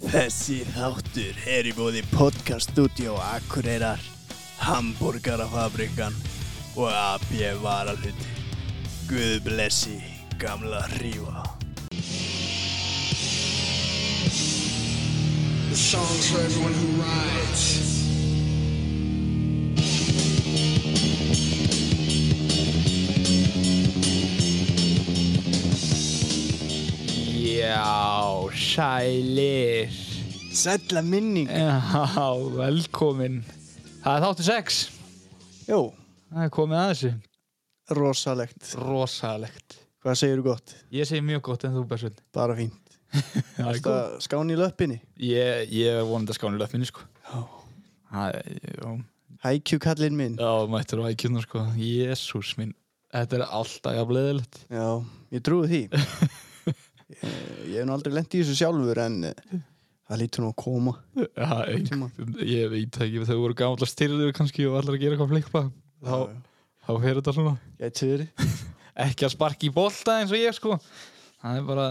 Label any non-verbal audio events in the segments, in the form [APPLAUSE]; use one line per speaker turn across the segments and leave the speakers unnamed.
Þessi þáttur er í bóði Podcast Studio Akureyrar, Hamburgerafabrikan og AB Varaluti. Guð blessi gamla rífa.
The songs for everyone who rides.
Já, sælir
Sætla minning.
Já, velkomin Það er þáttu sex Eh.
Jó,
Það er komið að þessu
rosalegt.
Rosalegt
Hvað segirðu gott? Ég
Ég segi mjög gott en þú Bersvöld
Bara fínt. Það skán í löppinni.
Ég, ég er vonandi að skána löfminni sko Það er, já
Hækjú kallinn minn.
Já, mættur á ækjunum sko Jésús minn Þetta er alltaf jafnleðilegt
Já, ég trúi því.
[LAUGHS]
Eh, Ég hef nú aldrei lent í þessu sjálfur en eh, það lítur nú að koma.
Já,
Tíma.
einhvern- Ég veit það ekki Þau voru gamla styrður kannski og allar að gera eitthvað flikpa Þá, þá fer þetta svona
Gæti verið.
ekki að sparki í bolta eins og ég sko það er bara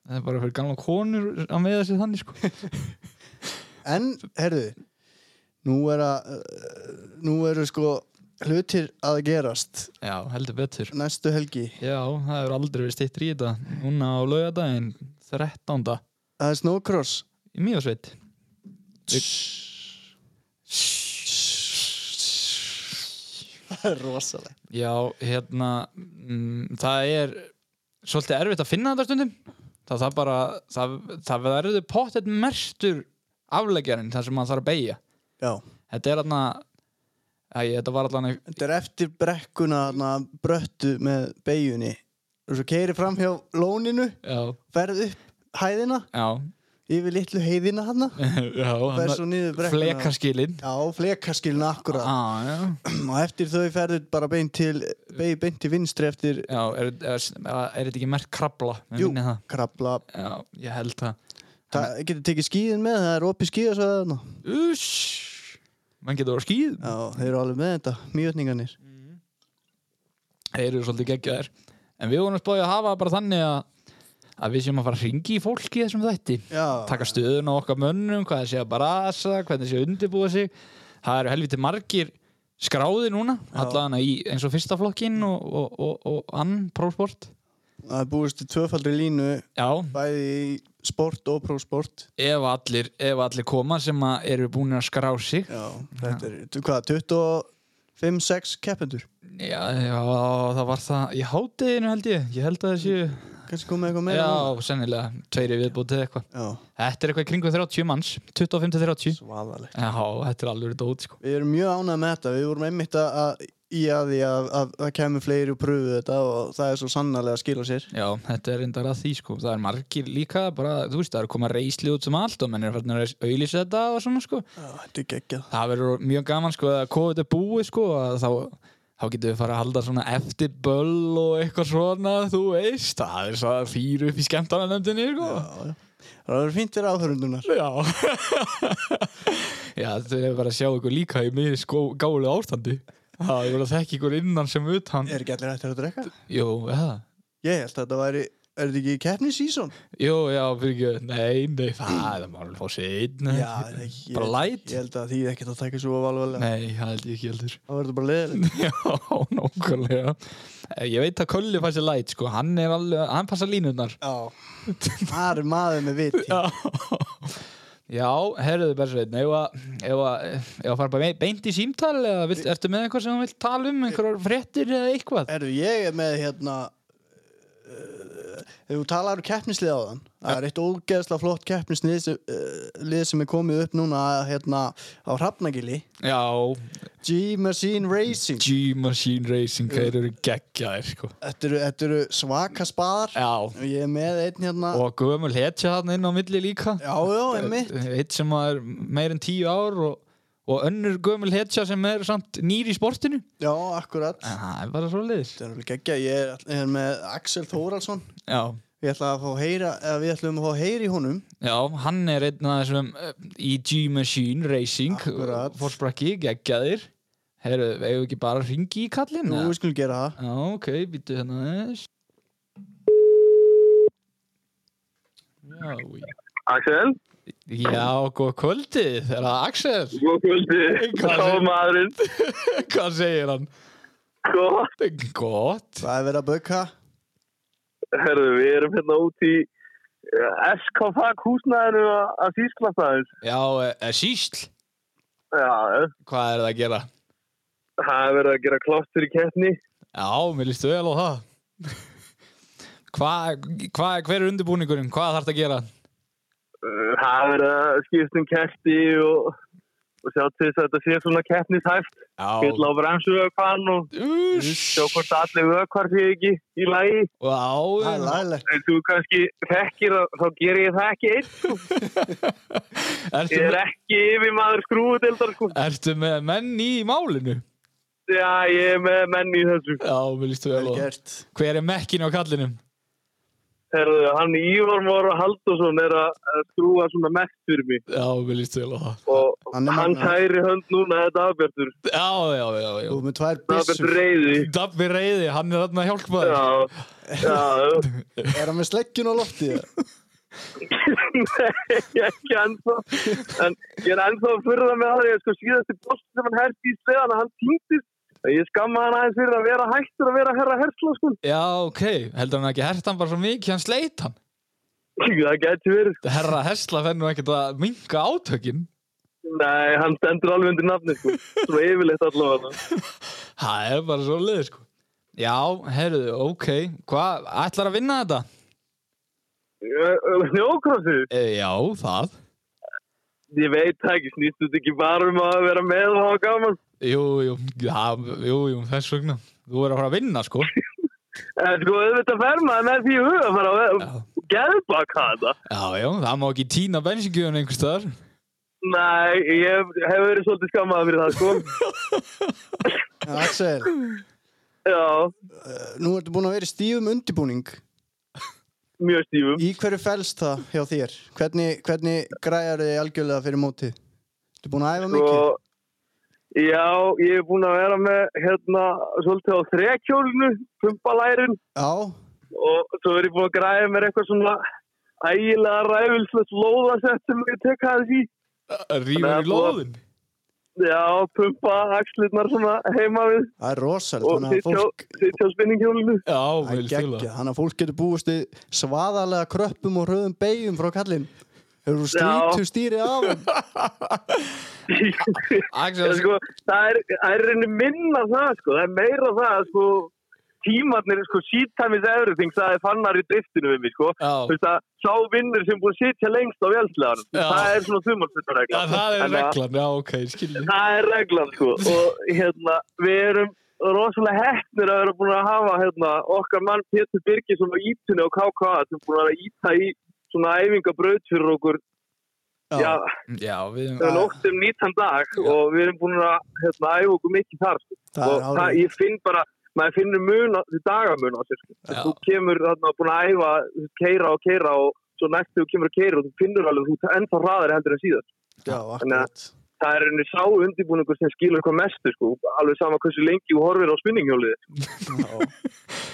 það er bara fyrir gamla konur að meða sér þannig sko [LAUGHS]
En, herðu, nú er að, uh, nú eru sko hlutir að gerast
já, heldur betur
næstu helgi.
já, það hefur aldrei verið stýttir í þetta núna á laugardaginn 13.
Það er snowcross.
í mjögsveit
[LAUGHS] Það er rosalega.
já, hérna mm, það er svolítið erfitt að finna þetta stundum það, það bara það, það verður pottet mestur afleggjarinn þar sem maður þarf að beigja
Já,
þetta er alveg þetta var alveg
þetta er eftir brekkuna na, bröttu með beigjunni. Og svo keiri fram hjá lóninu,
já,
ferð upp hæðina,
já, [LAUGHS]
yfir litlu heiðina hana,
já
ferð svo niður brekkuna.
Flekarskilin
Já, flekaskilin akkurat.
ah, já.
[CLEARS THROAT] Og eftir þau ferðu bara beint til, beig beint til vinstri eftir
já, er, er, er þetta ekki merkt krabla? Mér
Jú.
minnir það.
krabla.
Já, ég held það
Það getur tekið skíðin með, það er opið skíðasvæðana.
Uss, mann getur að skýð
Já, þeir eru alveg með þetta, mjötningarnir.
Þeir eru svolítið geggjaðir En við vorum spáðið að hafa bara þannig að að við séum að fara að ringi í fólki í þessum þætti
Já,
taka stöðun á okkar mönnum hvað það sé að brasa, hvernig sé að undirbúa sig það eru helviti margir skráði núna, allavega í eins og fyrsta flokkin og, og, og, og ann prófsport
það er búist til tvöfaldri línu,
Já,
bæði í sport og prósport.
ef allir, ef allir koma sem að eru búin að skrá sig
Já, þetta er, tu- hvað, 25-6 keppendur?
já, já, það var það í hátteginu held ég, ég held að það séu
Kanski komið eitthvað meira? núna?
já, sennilega, tveiri viðbútið eitthvað
Já,
þetta er eitthvað í kringum 30 manns 25-30,
svaðalegt.
já, þetta er alveg dót sko.
Við erum mjög ánægð með þetta, við vorum einmitt að, að í að því að það kemur fleiri og pröfu þetta og það er svo sannarlega að skila sér.
já, þetta er reyndar að því sko. það er margir líka, bara, þú veist, það er að koma reisli út sem allt og menn er farin að auðlýsa þetta og svona, sko,
Já, þetta er geggjað.
það verður mjög gaman sko, að COVID er búið sko, að þá, þá getum við fara að halda svona eftir böll og eitthvað svona þú veist, það er svo fýru upp í skemmtarnefndinni sko.
Já, já. Það eru fínt fyrir áhörundunar.
já [LAUGHS] já, þetta er bara að sjá ykkur líka í mér sko, gálu ástandi það er bara að þekka ykkur innan sem utan
Er ekki allir eftir að drekka?
jú, eða
Ég held að þetta væri, er þetta ekki keppnisísón?
Jú, já, fyrir ekki, nei, nei, það það má alveg fá sér
Já, það er ekki-
Bara
ég-
light?
Ég held að því ekkert að taka svo alvarlega
Nei, það held ég ekki heldur [LAUGHS]
Það verður bara leðilegt
Já, nákvæmlega Eh, Ég veit að Kölli fæsir læt, sko Hann er alveg, hann passa línunar
Já Það er maður með viti
Já Já, herruðu Bersveit Ef að, ef að, ef að fara bara be- beint í símtal eða vill, ertu með eitthvað sem þú vilt tala um einhverjar fréttir eða eitthvað
Erðu, ég er með hérna Þegar þú talar um keppnislið á þann Það er eitt ógeðslega flott keppnislið sem, uh, lið sem er komið upp núna hérna á Hrafnagili
Já,
G-Machine Racing
G-Machine Racing þeir eru geggjaðir, sko
Þetta eru, þetta eru svaka spaðar
Já,
og ég er með einn hérna
og gömul hetja hann inn á milli líka
Já, já, einmitt
Eh, eitt sem er meir en tíu ár og, og önnur gömul hetja sem er samt nýr í sportinu
Já, akkurat
En það er bara svo leiðis
Þetta er alveg geggja, ég er, er með Axel Þóralsson
já,
Við ætlum að fá heyra, eða við ætlum að fá heyra í honum
já, hann er einn af þessum eh, í G-Machine Racing
Akkurat.
fórsprakki, geggjaðir Herru, eigum við ekki bara að ringi í kallinn?
Nú,
eða?
við skulum gera það
Já, ok, býttu hérna aðeins Já, í-
Axel,
Já, góð kvöldið, er það Axel? [LAUGHS]
Góð kvöldi,
Hvað
þá
segir-
maðurinn. Sko,
Hvað segir hann?
Góð,
Gott
Hvað er verið að böka?
herðu, við erum hérna út í eh, SKFAK húsnæðinu að Þýsklanda aðeins.
Já, e, sísl,
Já, eh,
hvað er það að gera?
það er verið að gera klástur í keppni.
Já, mér lístu vel á það Hva, hva, Hver er undirbúningurinn? Hvað þarf það að gera?
Eh, Það er verið að skipta um kerti og, og sjá til þess að þetta sé svona keppnishæft. Fyll á
Já,
bremsuvökvann og
Uss.
sjá hvort allir vökvar því ekki í lagi.
Það
já,
er
já.
lagilegt.
En þú kannski þekkir að þá ger ég það ekki einn. sko.
[LAUGHS] Ertu,
Ég er
með,
ekki yfir maður skrúðutildar sko.
ertu með menn í málinu?
Já, ég er með menn í þessu.
Já, mér lístu vel á
Vel
það
gert.
Hver er mekkin á kallinum?
Herðu, hann Ívar Móra Haldursson er að að skrúa svona mest fyrir mig
Já, mér lístu vel á það
og
Hann
hann,
er magnaður.
kæri hönd núna þetta afbjörður.
Já, já, já,
Þú
já.
ert með tvær
Afbjörður
byssur.
reyði.
Dabbi reyði, hann er þarna að hjálpa þér
Já, já.
Er hann með sleggjun á lofti?
Nei, ekki ennþá. En ég er ennþá að fyrra með það. Ég sko síðasti bost sem hann herti í sleðan hann týndist. Ég skamma hann aðeins fyrir að vera hættur að vera herra hersla sko.
Já, ok, heldur hann ekki hert hann bara svo mikið, hann sleit hann
Það gæti verið sko.
Herra Hesla fenn nú ekkert að minka átökin
Nei, hann stendur alveg undir nafni sko. Svo yfirleitt allavega.
Það er bara svo leið sko Já, herruðu, ok Hvað, ætlar að vinna þetta?
Snjókrossið?
E, já, það
Ég veit það ekki, snýst þetta ekki bara um að vera með og hafa gaman.
Jú, jú, já, jú, jú, þess vegna Þú er að fara að vinna sko Já,
En sko, auðvitað fer maður með því í huga að fara að geðbaka þetta.
já, það má ekki tína bensingjöfun einhvers staðar
Nei, ég hef, hef verið svolítið skammaða fyrir það, sko.
Axel,
Já,
eh, nú ertu búin að vera í stífum undirbúning.
mjög stífum.
Í hverju fælst það hjá þér? Hvernig, hvernig græjar þið algjörlega fyrir mótið? Ertu búin að æfa
Sko-
mikið?
Og, já, ég hef búin að vera með, hérna, svolítið á þrekjólinu, pumpalærin.
Já,
Og svo er ég búin að græða mér eitthvað svona ægilega ræfilslegt lóðasett sem ég tek aðeins í.
Rífur
Nei,
í lóðin
Já, pumpa axlirnar svona heima við.
það er rosalega.
og
Þannig að
sitja
fólk,
á- sitja á
[LAUGHS]
spinningkjólinu
Já,
það er
vel stila
geggja. Þannig að fólk getur búist í svaðalega kröppum og hröðum beigjum frá kallinn. Hefur þú strítu stýrið af hann?
Axel,
En [LAUGHS] sko, það er, það er reyni minna það sko, það er meira það sko, tímarnir sko, sheet time is everything, það er fannar í driftinu við mig sko,
Já.
þú veist að sá vinnur sem búið að sitja lengst á vélslegan
Já.
það er svona þumarsvitaregla
Já, það er reglan, já, ok, skilji
það er reglan sko og hérna, við erum rosalega hettnir að vera búin að hafa hérna, okkar mann Pétur Birgis á ítinu og KK sem búin að vera að íta í svona æfingabraut fyrir okkur já,
Já, við
Það er nótt um 19 dag og við erum búin að hérna, æfa okkur mikið þar sko.
Það er
og það,
hárrétt.
ég finn bara, maður finnur mun á, því dagamun á sér sko.
Já.
þú kemur þarna búin að æfa keira og keira og svo næst þegar þú kemur að keira og þú finnur alveg þú ert ennþá hraðar heldur en síðan
Já, akkurat.
það er einu sá undirbúningur sem skilur hvað mestu sko. alveg sama hversu lengi þú horfir á spinninghjólið
Já.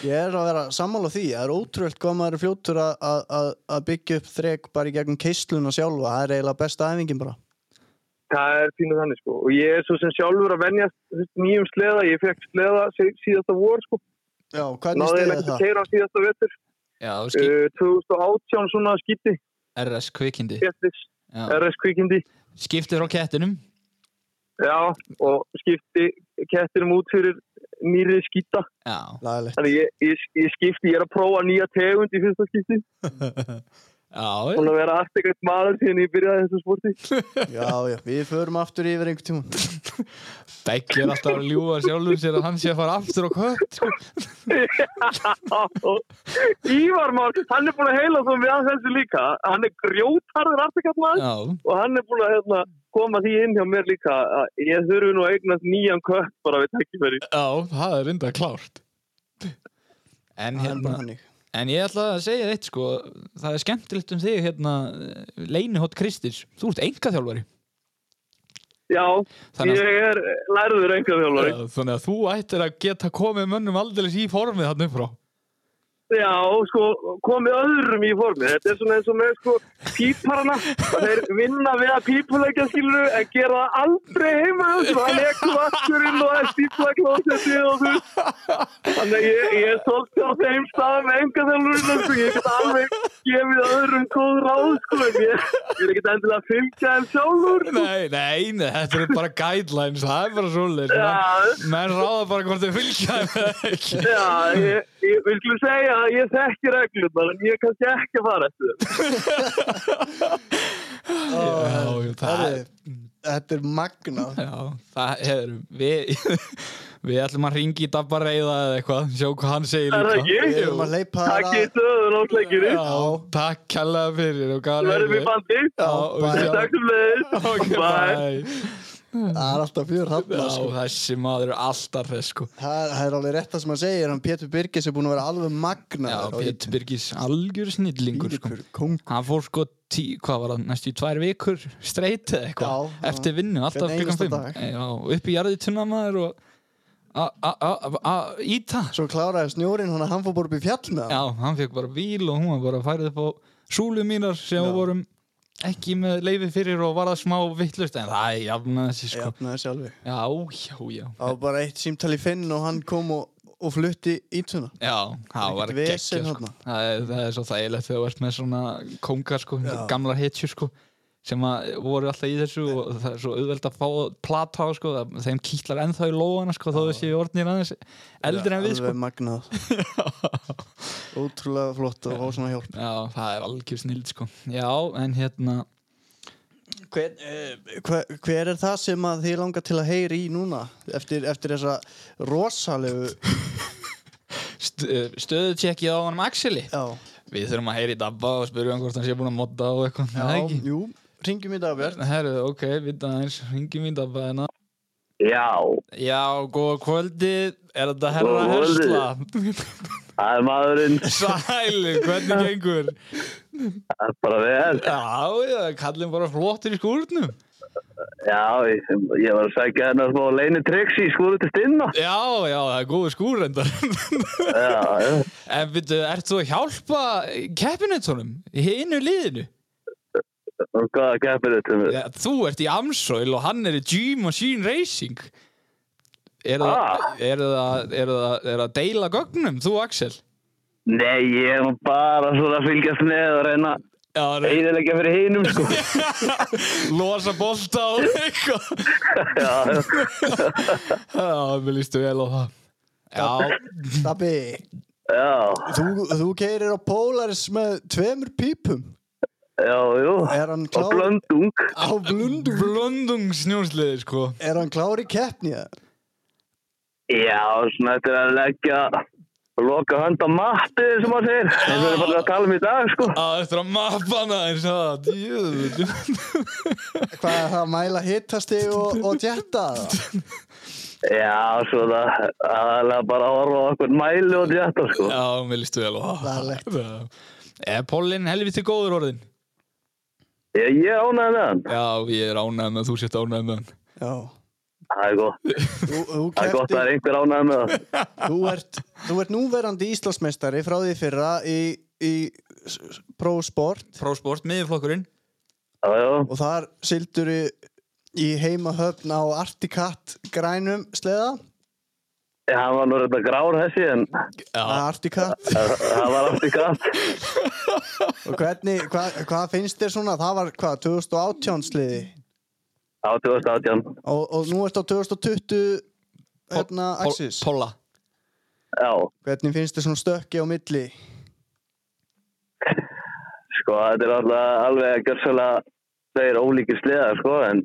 Ég er að vera sammála því. Það er ótrúlega hvað maður er fljótur að- að að- að byggja upp þrek bara í gegnum keisluna sjálfa. Það er eiginlega besta æfingin bara.
það er fínu þannig sko. og ég er svo sem sjálfur að venja nýjum sleða, ég fekk sleða sí- síðasta vor sko.
Já, hvernig
náði
stýrið
ég ekki
það?
að keira á síðasta vetur
Já, skilji,
uh, 2018 svona skýtti
RS kvikindi
Kettis,
Já.
RS kvikindi
Skiptið frá kettinum
Já, og skipti kettinum út fyrir nýrið skýta
Já,
Lagalegt.
Þannig ég, ég, ég skipti, ég er að prófa nýja tegund í fyrsta skipti
já,
Búin að vera allt eitthvað maður síðan ég byrjaði þessu sporti [LAUGHS]
Já, já, við förum aftur yfir einhver tíma.
Beggi er alltaf að ljúga sjálfur sér að hann sé að fara aftur á kött sko.
Ívar Már, hann er búin að heila svo við að þessu líka Hann er grjótarður aftekast maður
Já,
og hann er búin að hérna, koma því inn hjá mér líka að ég þurfi nú að eignast nýjan kött bara við tækifæri
já, það er enda klárt En,
Það er bara
hérna,
hannig.
en ég ætla að segja þeitt sko, það er skemmtilegt um þig hérna, Leinihótt Kristins Þú ert engaþjálfari
Já,
Þannig að-
ég er lærður einhverjum þjálfari
Þannig að þú ættir að geta komið mönnum aldrei í formið hann upp frá
já, sko, komið öðrum í formið. Þetta er svona eins og með, sko, píparana. Það er vinna við að pípuleika, skilur, en gera það aldrei heima. hjá sér. Það er kvasturinn og það er stíplaklósetið og þú. veist. Þannig að ég, ég er svolítið á þeim staðum enga þjálfurinn, sko. Ég get alveg gefið öðrum góð ráð, sko. en Ég, ég er ekkert endilega að fylgja þeim sjálfur, sko.
Nei, nei, nei, þetta eru bara guidelines, það er bara svolítið.
Já.
Menn ráða bara hvort þau fylgja þeim eða ekki.
Já, ég, ég vil ekki segja að ég þekki reglurnar en ég er kannski ekki að fara eftir þeim.
Já, jú, það er...
Herri, Þetta er magna
Já, það hefur við, við ætlum að ringi í Dabba Reyða eða eitthvað, sjá hvað hann segir
Er það
líka.
ekki?
Við erum að leipa þær
Takk í
að
stöðun á klækjunni.
Já, takk kærlega fyrir og gæla
Verðum í bandi.
Já,
bye.
já.
Takk sem
Ok,
leiðis. Bye.
bye.
Það er alltaf fjör
Já,
hafna sko.
þessi maður er alltaf hress, sko.
það, það er alveg rétt það sem hann segir Hann Pétur Birgis er búin að vera alveg magna
Já, Pétur Birgis, algjör snillingur, sko.
Kong
Hann fór sko, tí, hvað var það, næstu í tvær vikur streyt eða eitthvað,
Já, já.
eftir vinnu alltaf
Hvern
klukkan
einasta
5
dag.
Já, upp í jarðið tunnamaður og a- a- a- a- a- íta
Svo kláraði snjórin hann að hann fór bara upp í fjall með
Já, hann fekk bara bíl og hún var bara að færa upp á súlu mínar sem
Já.
vorum ekki með leifi fyrir og var það smá vittlust en það er jafnaði þessi sko
Jafnaði sjálfi
Já, já, já
Það var bara eitt símtal í finn og hann kom og, og flutti ítuna
Já, það var
ekkert
geggja
vesen
sko.
þarna.
það, er- það er svo þægilegt þegar þú ert með svona kongar sko,
Já.
gamlar hetjur sko sem að voru alltaf í þessu og það er svo auðvelt að fá plata á sko, það- þeim kýtlar ennþá í lóana sko, þó þessi orðnir aðeins eldri en við sko
Alveg magnað
[LAUGHS]
Ótrúlega flott og fá svona hjálp
Já, það er algjör snild sko Já, en hérna
hver, eh, hver, hver er það sem að þið langar til að heyri í núna eftir, eftir þessa rosalegu
[LAUGHS] st eh, stöðu tjekkið á hann Axeli
já,
Við þurfum að heyri í Dabba og spyrja hann hvort hann sé búin að modda og eitthvað
já,
Það er ekki
jú, ringjum í dagbjörn
Herru, ok, við aðeins, ringjum í Dabba hérna
Já,
Já, góða kvöldið, er þetta herra
Góða kvöldið.
[LAUGHS] hersla?
það er maðurinn.
Sæli, hvernig gengur?
Það er bara vel.
Já, já, kallum bara flottir í skúrnum.
Já, ég, ég var að segja hennar smá leini triks í skúru til stinna.
Já, já, það er góður skúr endar.
Já, já.
[LAUGHS] en byrju, ert þú að hjálpa keppinutunum, hinu liðinu?
Og hvaða keppir þetta með?
Já, þú ert í Amsoil og hann er í G Machine Racing. Er það,
Ah.
er það, er það, er það deila gögnum, þú Axel?
Nei, ég er nú bara svona að fylgjast með og reyna
Já, rey-
eiginlega fyrir hinum,
[LAUGHS]
sko.
losa bolta og [LAUGHS] eitthvað.
Já, já.
Já, mér lístu vel á það. Já,
Dabbi,
Já,
þú, þú keirir á Polaris með tveimur pípum
já, jú.
er hann
Og
klár,
blöndung.
á blundu
blundung snjónsliði, sko.
er hann klár í keppni eða?
Já, svona þetta er að leggja að loka hönd á matti sem maður segir eins og við erum bara að tala um í dag sko
að eftir að mappa hana eins og það djöfull.
hvað er það að mæla hittasti og, og tjetta
[LAUGHS]
Já, svona aðalega bara að horfa á okkur mæli og djættar sko
já, mér lístu vel á
Lærlegt.
það er Pólinn helviti góður orðin
Ég, ég ánæði með hann
já, ég er ánægð með að þú sért ánægð með hann
já,
Það er gott,
þú, þú
það er gott að
kepptir
það er einhver ánæði með hann
Þú ert, þú ert núverandi Íslandsmeistari frá því fyrra í, í s- s- Pro Sport
prósport, miðurflokkurinn
Já, já,
og þar sildur í, í heimahöfn á Articat grænum sleða
Ég, hann var nú reynda grár þessi en
já,
Articat
það var aftur grænt
og hvernig, hva, hvað finnst þér svona það var hvað, 2018 sleði
á 2018
og, og nú ertu á 2020 hérna
Pó-
Axis
Pólla
Já,
hvernig finnst þér svona stökki á milli
sko þetta er alltaf alveg gjörsala þeir ólíkir sleðar sko en,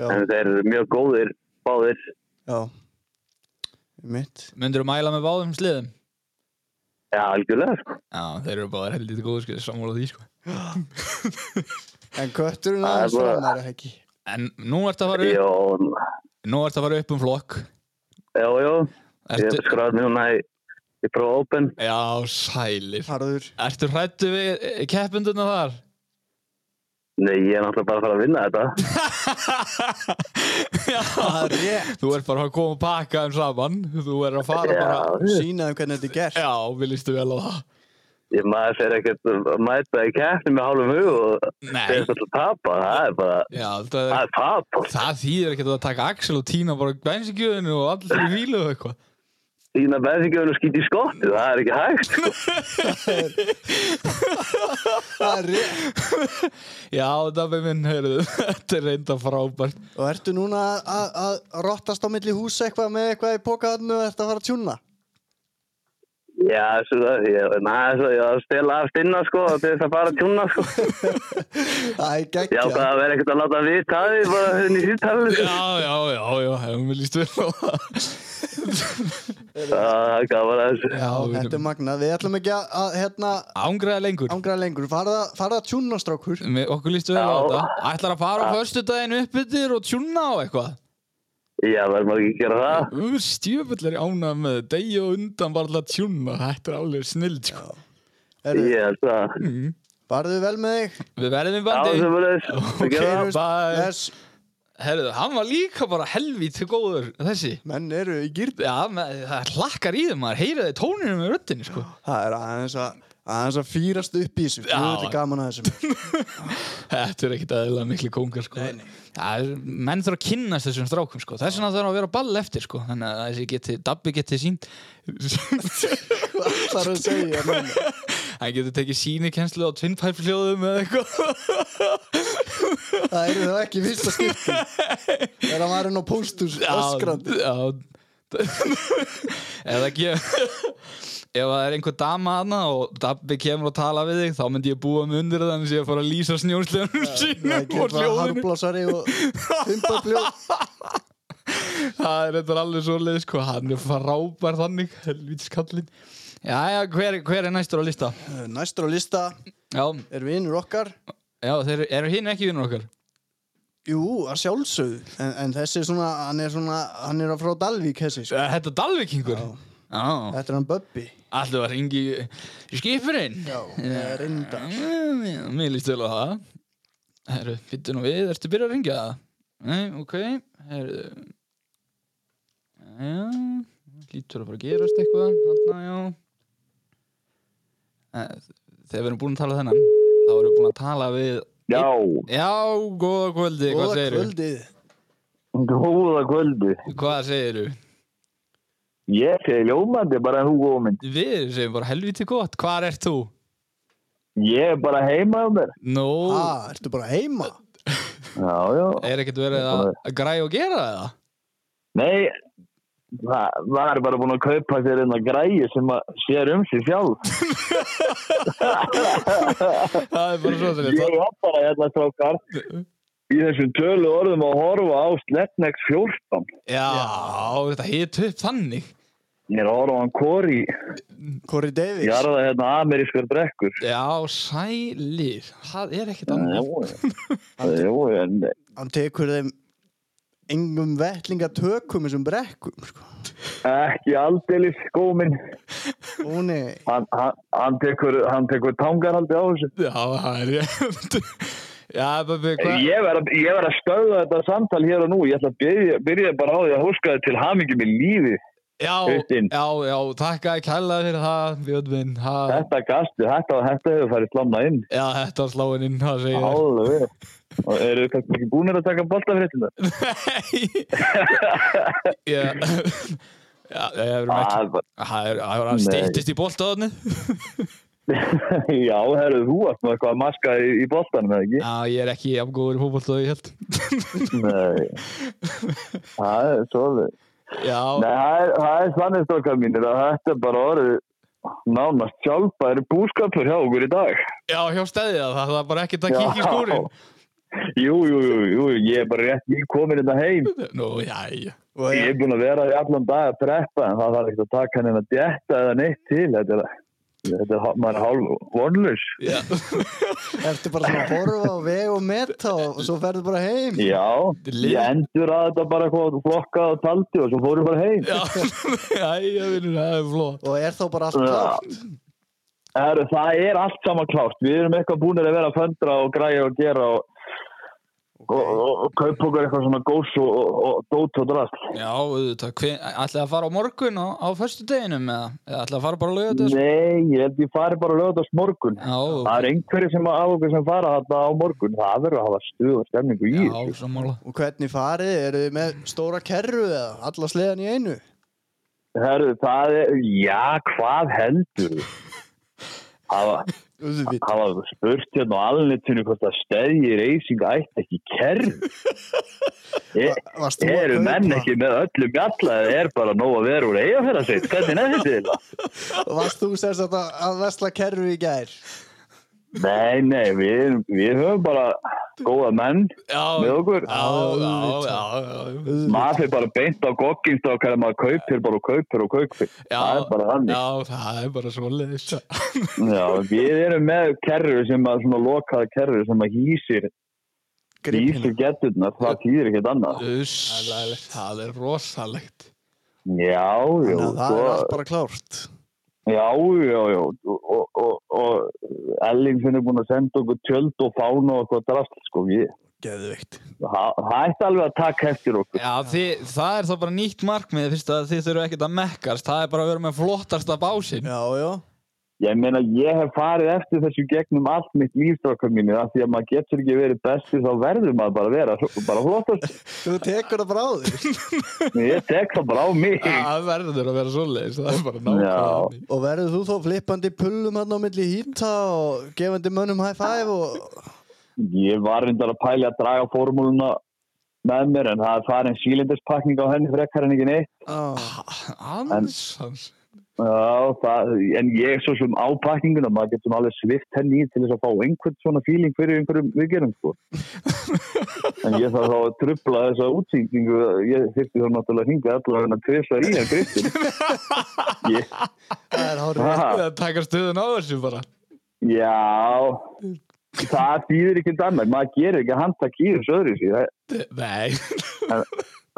já,
en þeir eru mjög góðir báðir
já mitt
myndirðu mæla með báðum sliðum
Já, algjörlega sko
já, þeir eru báðir helviti góður sko, sammála því sko
en kötturinn
Það er
aðeins
bara-
framar er ekki
en nú ert að fara upp,
Jó,
nú ert að fara upp um flokk
já, já Ég hef
ertu,
skráð mér núna í, í Pro Open.
já, sælir
harður
eh, ertu hrættu við keppunduna þar
Nei, ég er náttúrulega bara að fara að vinna þetta.
Það er rétt.
Þú ert bara að koma og pakka þeim saman Þú ert að fara bara
Já,
Sýnaðum hvernig þetta er gert.
Já, við lístu vel á það
ég maður fer ekkert að mæta í keppni með hálfum hug og
Nei.
þeir þetta að tapa. Það er bara,
Já, það,
það er tap.
það þýðir ekkert að taka Axel og Tína bara bensingjöðinu og allir í vílu og eitthvað
Þína bensingjörn og skýti í skottu, það er ekki hægt. sko.
Það er rétt.
Já, það með minn, heyrðu, [LAUGHS] þetta er reynda frábært
Og ertu núna að- að að rottast á milli hús eitthvað með eitthvað í pókaðinu og ertu að fara að tjúna?
Já, svo það, ég, na, svo ég var að stela af stinna sko og til þess að fara að tjúna sko.
Það er
Já,
geggjað.
það verður ekkert að láta við taði bara henni í sýttalinu.
Já, já, já, já, hefum við lístu vel á það
Það er gaman að þessu.
Já, þetta er magnað. Við ætlum ekki að, að hérna,
Ángraða lengur
ángra lengur. Farða fara að tjúna, strákur.
Með okkur lístu vel á
Já.
þetta Ætlar að fara á förstu daginn upp yfir og tjúna á eitthvað
Já, verður maður ekki að gera það.
Stjöfull er ánað með degi og undan bara alltaf tjúna Þetta er alveg snild, sko
Herru,
Ég held það.
farðu vel með þig.
Mm. Við verðum í
Já,
bandi
sem verður þess.
Ok,
það.
bye
Þess,
Herðu, hann var líka bara helvíti góður þessi
menn eru í gýrt.
Já, með, það hlakkar í þeim, maður heyriði tóninu með röddinni, sko.
Það er aðeins að, aðeins að fýrast upp í þessu.
Já.
Þú ert gaman að
[LAUGHS]
þessum.
Þetta er ekkit aðeinslega miklu kongar, sko.
Nei, nei.
Það er, menn þarf að kynnast þessum strákum, sko. Þess vegna þarf að vera á ball eftir, sko. Þannig að þessi geti, Dabbi geti sínt.
Hvað þarf að segja? menn?
[LAUGHS] Hann geti tekið sínikenslu á tvinnpæfljóðum
[LAUGHS]
eða eitthvað.
Það eru það ekki í fyrsta skipti. Þegar maður er nú póstur öskrandi.
Já, [LAUGHS] já. Ef það kemur... Ef það er einhver dama aðna og Dabbi kemur og tala við þig, þá myndi ég búa mig undir það þannig að ég fara að lýsa snjósleganum
Það er
sínum
ekki
og
bara
hljóðinu.
harblásari og [LAUGHS] fimpabljóð.
Það er þetta er alveg svo leið sko, hann er frábær þannig, helvítis kallinn. Jæja, hver, hver er næstur á lista?
Eh, Næstur á lista
Já,
er vinur okkar.
já þeir eru hinn ekki vinnur okkar.
Jú, að sjálfsögðu. En, en þessi er svona, hann er svona, hann er að frá Dalvík þessi. Sko.
Eh, Þetta er Dalvikingur.
Já.
Já,
Þetta er hann Böbbi.
alltaf að ringi skipurinn.
Já, reynda.
Mm, já, Mér líst vel á það. Herru, byttu nú við, ertu byrjað að ringja það? Nei, ok, herru. Já, lítur að fara að gerast eitthvað, þarna, já. Eh, Þegar við erum búin að tala þennan, þá erum við búin að tala við...
Já,
Já, góða kvöldi, hvað
Góða
segirðu?
kvöldið.
góða kvöldu.
Hvað segirðu?
Ég segi ljómandi bara en þú góða minn.
Við segjum bara helviti gott, hvar ert þú?
Ég er bara heima um þér.
Nú,
Ha, ertu bara heima?
Já, já.
er ekkert verið að, að græja og gera það?
Nei, það það er bara búin að kaupa sér einna græi sem að sér um sig sjálf.
Það er bara svo til
Ég er bara hérna strókar í þessum tölu orðum að horfa á Sletnex 14.
Já, þetta hit upp þannig
Ég er að horfa á hann kori,
Corey Davis.
ég er að hérna amerískar brekkur. Eh,
Já, sælir Það er ekkert annað
Jú, eh. jú, en
Hann tekur þeim engum vettlinga tökum þessum brekkum, sko.
ekki aldeilis góminn.
Ó nei.
Hann, hann, hann tekur, hann tekur tangarhaldi á þessu.
Já, það er rétt Já, Böbbi, hvað
Ég verð að- ég verð að stöða þetta samtal hér og nú. Ég ætla að byrja, byrja bara á því að húska þið til hamingi með lífi.
Já,
Kristín.
já, já, takk að kæla fyrir það Björn minn, það
Þetta gasti, þetta, þetta hefur farið slamna inn.
Já, þetta var sláin inn, það segir
Alveg. Og eru þið kannski ekki búinir að taka boltafréttina?
Nei Já, já, ég hefur mætt
Ah, bara-
Það er það er að
Nei.
stýttist í boltaðunni
[LAUGHS] Já, herru, þú varst nú eitthvað að maska í, í boltanum,
[LAUGHS]
eða ekki?
Já, ég er ekki afgóður í fótboltaðu, ég held
Nei. Það er svolítið. Nei,
Já,
það er, það er þannig stokkar mínir að þetta er bara orðið nánast sjálfbæri búskapur hjá okkur í dag.
já, hjá stæðið það Það er bara ekkert að
Já.
kíkja í skúrin
Jú, jú, jú, jú, ég er bara rétt nýkomin þetta heim.
Nú, jæja
Og
Ég
ég,
er búin að vera í allan dag að preppa en það þarf ekki að taka henni að djetta eða neitt til. Þetta er, þetta er, maður er hálf vonlaus.
Já,
ertu bara svona að horfa á veg og meta og svo ferðu bara heim.
Já,
Lið-
ég endur að þetta bara hvað flokka og taldi og svo
[LAUGHS]
fórum bara heim.
já, jæja, vinnur, það er flott
Og er þá bara allt klárt.
Heru, það er allt saman klárt. Við erum eitthvað búinir að vera að föndra og græja og gera og, og, og, og kaupa okkur eitthvað svona gós og, og, og dót og drast.
Já, auðvitað, ætlaði að fara á morgun á, á föstu deginum eða, eða ætlaði að fara bara á lögðu
Nei, ég held ég fari bara að lögða þess morgun.
Já, ok.
Það er einhverju sem af okkur sem fara þetta á morgun. Það verður að hafa stuð og stemningu í. þessu.
Já, sammála
Og hvernig farið? Eru þið með stóra kerru eða alla sleðan í einu?
Herru, það er, já, hvað heldur
[LAUGHS]
þú? Hafa,
Uðvitt.
hafa spurt hérna á alnitinu hvort að stæði reysing ætti ekki
[LAUGHS]
kerf. E,
Varst þú að
eru menn
kaupa?
ekki með öllum galla eða er bara nóg að vera úr eiga fyrir að segja? Hvernig nefnir þetta?
Varst þú semst að, að vesla kerru í gær?
Nei, nei, við, erum- við höfum bara góða menn
Já,
með okkur.
já, já, já, já,
Maður fyrir bara beint á gogginstakar maður kaupir bara og kaupir og kaupir.
já
það er bara þannig.
Já, það er bara svoleiðis
Já, við erum með kerru sem að svona lokaða kerru sem að hýsir hýsir geturnar, það týðir ekkert annað
Uss, það er rosalegt
Já, já,
Þannig að það
svo,
er allt bara klárt.
já, já, já og, og, og, og Elling finnir búin að senda okkur tjöld og fána og eitthvað drast sko, við,
Geðvikt.
það það ætti alveg að taka eftir okkur
Já, þi, það er þá bara nýtt markmið fyrst að þið þurfum ekkert að mekkast það er bara að vera með flottasta básinn
Já, já.
Ég meina, ég hef farið eftir þessu gegnum allt mitt lífstrákar mínu af því að maður getur ekki verið bestur þá verður maður bara að vera bara flottast
Þú tekur það bara á
[LAUGHS]
þig.
ég tek það bara á mig
Það verður að vera svoleiðis, það er bara
Já.
nákvæmlega
Og verður þú þá flippandi pullum hann á milli hýta og gefandi mönnum high five og...
Ég var reyndar að pæli að draga formúluna með mér en það er farin sílinderspakning á henni frekar en ekki neitt.
Ah,
Hans, hans
Já, það, en ég svo sem ápakninguna, maður getur alveg svift henni í til þess að fá einhvern svona fíling fyrir einhverjum viðgerum sko. en ég þarf þá að trubla þessa útsýningu, ég þyrfti þá náttúrulega að hinga allavega að tvisa í hann griftin. Ég,
það er hárið.
ha,
Það taka stöðun á þessu bara
já, það býður ekki annað, maður gerir ekki handtak í þessu öðru sér,
Nei [LAUGHS]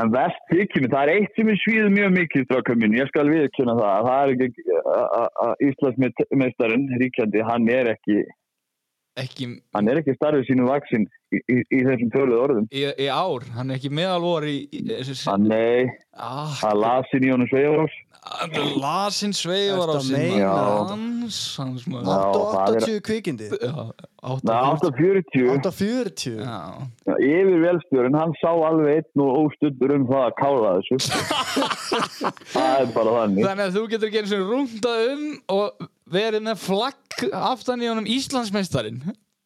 En verst þykjum, það er eitt sem er svíð mjög mikið stráka mín, ég skal viðkjöna það það er ekki að- að að Íslandsmeistarinn, ríkjandi, hann er ekki
Ekki
hann er ekki starfið sínu vaksin í, í, í þessum töluð orðum
í, í ár, hann er ekki meðalvor í, í, í, í
hann nei,
ah,
hann lasin í honum Sveivarós
Lasin sveivar á
Ertu að
sinni
meina
þetta?
Hans, hans maður
Já, það er-
880 kvikindi.
Já,
það er
8
840
840.
Já,
yfir velstjórin, hann sá alveg einn og óstuttur um það að kála þessu það er bara þannig
Þannig að þú getur ekki eins og rúndað um og verið með flagg aftan í honum Íslandsmeistarin.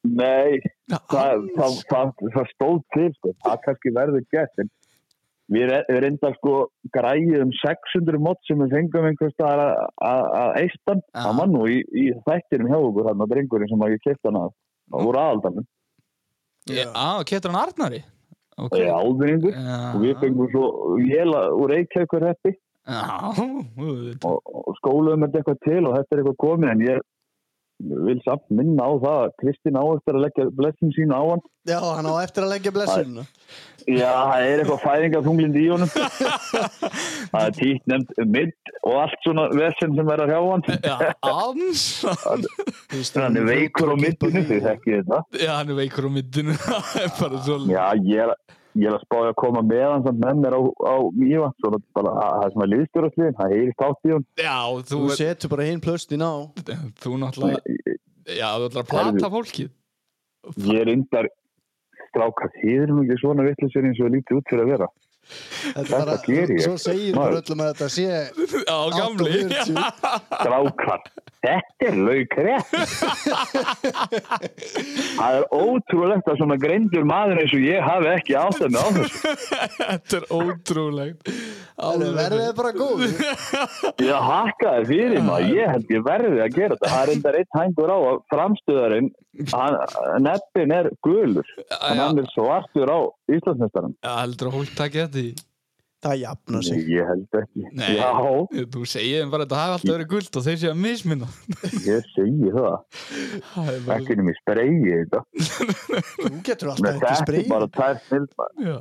Nei, það, það, það, það stóð til, sko. það kannski verður gett, en við re- við reyndar sko græðið um 600 mót sem við fengum einhvers staðar að- að að eistan,
Já.
það var nú í, í þættinum hjá okkur hann og drengurinn sem að ég keitt hann að það voru aðaldanum,
Já, ah, Ketur hann Arnari? Ok.
það er áðuringur og við fengum svo jela úr Reykjavíkur heppi
Já, auðvitað.
og, og skóluðum þetta eitthvað til og þetta er eitthvað komið en ég vil samt minna á það að Kristinn á eftir að leggja blessin sín á hann
Já, hann á eftir að leggja blessununa.
Já, það er eitthvað fæðingatunglind í honum. það er títt nefnt midd og allt svona vesen sem verður hjá hann.
Já, hans.
[LAUGHS]
Þú veist,
Hann er veikur á
klippa
middinu,
því.
þið þekkið þetta.
Já, hann er veikur á middinu. [LAUGHS] Það er bara svo...
Já, ég er, ég er að spája að koma með hann samt með mér á, á mýva. Svona bara að- það sem er liðstjórasliðin, það heyrist átt í hann.
Já, þú,
Þú
er-
setur bara hinn plöstin á.
þú náttúrulega... Já, þú ætlar að plata fólkið.
Ég er yndar stráka, þið erum ekki svona vittlisir eins og lítið út fyrir að vera.
Þetta
Þetta
bara,
geri ég.
Svo segir bara
Maður.
öllum að þetta sé
Já, gamli.
840.
Strákar, þetta er laukrétt. það er ótrúlegt að svona greindur maður eins og ég hafi ekki átt að með á þessu.
[LAUGHS] Þetta er ótrúlegt.
Þannig að verðið bara góð.
[LAUGHS]
Ég hakkaði fyrir maður, ég held ég verði að gera þetta. Það er enda reitt hængur á að framstöðarinn, hann, neppin er gulur, en hann er svartur á Íslandsmestarann.
Já, heldur að fólk takja þetta í...
Það jafna sig.
Ég held ekki.
Nei.
Já,
Þú segir þeim bara að þetta hafi alltaf verið guld og þeir séu að misminna.
ég segi það.
Það er bara-
Ekki nefnir spreyið þetta.
Þú getur
Nei,
alltaf
Þetta
ekki
er
spreið.
bara tært nýlpa.
Já.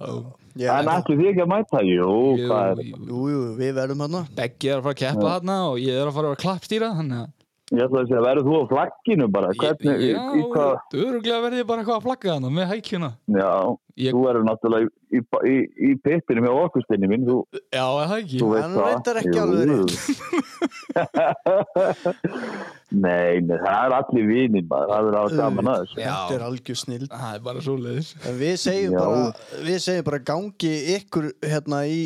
Já,
En ætlum því ekki að mæta? Jú,
Jú,
hvað er
jú,
Jú, jú, við verðum hann.
Beggi er að fara að keppa þarna og ég er að fara að vera klappstýra þannig að
Ég ætla að segja, verður þú á flagginu bara? Hvernig,
já,
í, í hvað?
öruglega verði ég bara eitthvað að flagga þannig með hækjuna
Já,
Ég-
þú verður náttúrulega í, í, í, í pittinu með okkustinni mín, þú,
Já, er það ekki
þú veist
hann reyndar ekki alveg
[LAUGHS] nei, nei, það er allir vinir maður, það er alveg gaman að þessu.
Já.
Þetta er algjör snild
Það er bara svo leiðis
En við segjum
Já.
bara við segjum bara gangi ykkur hérna í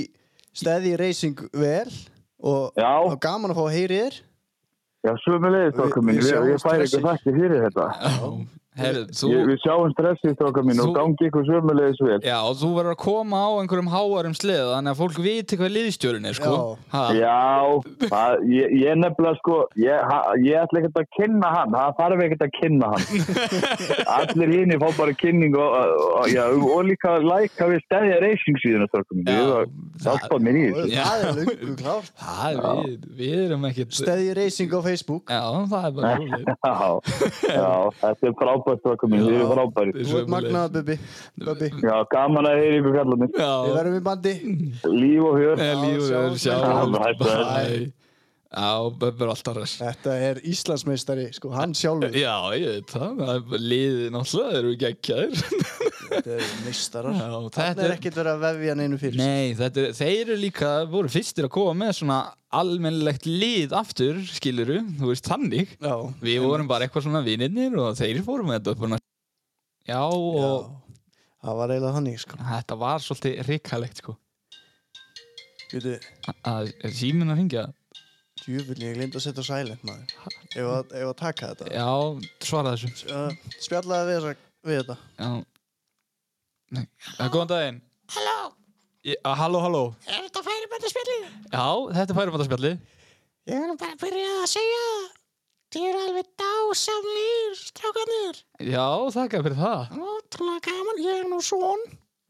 stæði racing vel og,
Já.
og gaman að fá að heyri þér
Já, sömulegis,
Við-
strákar mín,
við
ég, ég
sjáumst
fær
hressir.
eitthvað þakki fyrir þetta.
Herri, þú,
Ég, við sjáum stressið, strákar mín,
Þú-
og gangi ykkur sömulegis vel.
já, og þú verður að koma á einhverjum háarum sleða þannig að fólk viti hvað liðstjórun er sko. ha,
Já, það, ég, ég nefnilega sko, ég, ha- ég ætla ekkert að kynna hann, það þarf ekkert að kynna hann.
[LAUGHS]
Allir hinn fá bara kynning og, og, og, já, og líka læka við stæðja racing síðan að strákum.
Já,
Ég var
það-
hjálpað mér í
og
þessu.
Já.
það er lungu
[LAUGHS]
klárt
það er við, við erum ekkert
stæði racing á Facebook
Já, það er bara svo leiðis
Já, já, þetta er frábært strákum mín, þið eru frábæri.
Þú ert magnað Bubbi Bubbi,
Já, gaman að heyra ykkur kallar mér.
við
[LAUGHS] Já,
verðum í bandi
Líf og hjör.
Eh, lífið er
sjáumst.
Hættu
sjálf
þessu.
Já, Böbbi er alltaf res
Þetta er Íslandsmeistari, sko, hann sjálfur
Já, ég veit það, það er bara liðið náttúrulega eru geggjaðir
[LAUGHS] Þetta er meistarar
Já,
Þetta er ekkert verið að vefja hann einu fyrir
Nei, þetta er, þeir eru líka voru fyrstir að koma með svona almennilegt lið aftur, skiluru þú veist þannig,
Já,
við vorum bara eitthvað svona vinirnir og þeir fórum með þetta upp svona. Já,
já.
og
það var eiginlega þannig, sko
þetta var svolítið ríkalegt sko,
Veitu,
að er síminn að ringja
djúvill, ég glemt að setja á silent, maður Ef að, ef að taka þetta
Já, svara þessu
uh, Spjallaði við, þessa, við þetta
Já Nei, já, góðan daginn Halló Halló, halló
Er þetta færibændaspjallið?
Já, þetta er færibændarspjallið
Ég er nú bara að byrja að segja það. Þið eru alveg dásamlegir, strákarnir.
Já, þakka fyrir það
Ótrúlega gaman. Ég er nú svon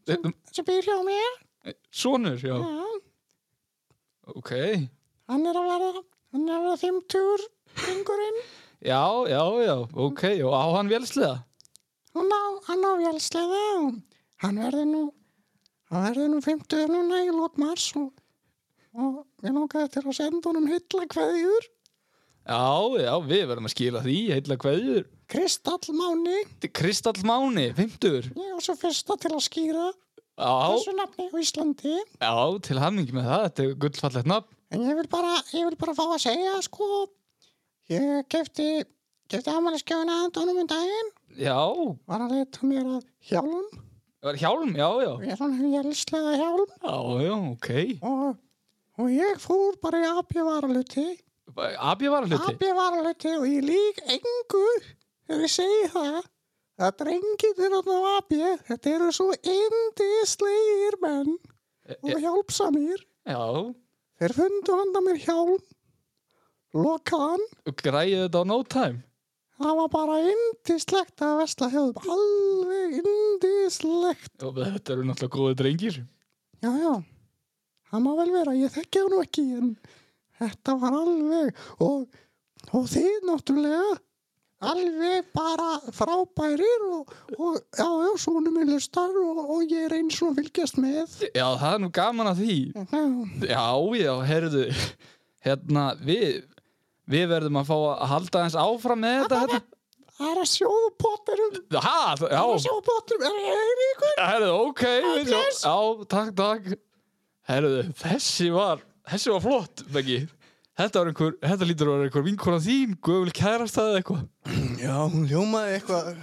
sem býr hjá mér.
Sónur, já
Já,
Ok
Hann er að verða, hann er að verða fimmtúr, yngurinn.
Já, já, já, ok Og á hann vélslega
Hann á, hann á vélslega. Hann verður nú, hann verður nú fimmtúr núna í lót mars og, og ég langaði til að senda honum hylla kveðjur.
Já, já, við verðum að skila því Heilla kveðjur
Kristallmáni.
Kristall Máni, 50
Ég var svo fyrsta til að skýra
Já,
þessu nafni á Íslandi.
já, til hammingi með það Þetta er gullfallegt nafn
En ég vil bara, ég vil bara fá að segja, sko, ég kefti, kefti afmæliskefina að dónum um daginn,
Já,
var að leita mér að hjálm,
það var hjálm, já, já
ég er svona hjálslega hjálm
Já, já, ok
og, og ég fór bara í AB varaluti,
Abja var að
AB
hluti
varaluti og ég lík engu þegar ég segi það. Það drengir þér á AB, þetta eru svo indislegir menn og hjálpsamir.
Já,
Þeir fundu handa mér hjálm, lokaðan
græði þetta á no time
Það var bara indislegt að vesla hjóðum, alveg indislegt.
og þetta eru náttúrulega góði drengir
Já, já, það má vel vera, ég þekki hann nú ekki, en þetta var alveg, og, og þið náttúrulega, alveg bara frábærir og, og já, já, svona minn hlustar og, og ég er eins og að fylgjast með.
já það er nú gaman að því
Já,
já já herðu hérna við við verðum að fá að halda eins áfram með þetta hérna.
það er að sjóða potterum,
ha, það-
það er að
já
sjóða potterum, er ég Eiríkur?
herðu ok við sjá-
bless.
já takk takk herðu þessi var þessi var flott Beggi þetta var einhver þetta lítur að vera einhver vinkona þín guðvöld kærasta eða eitthvað
Já, hún hljómaði eitthvað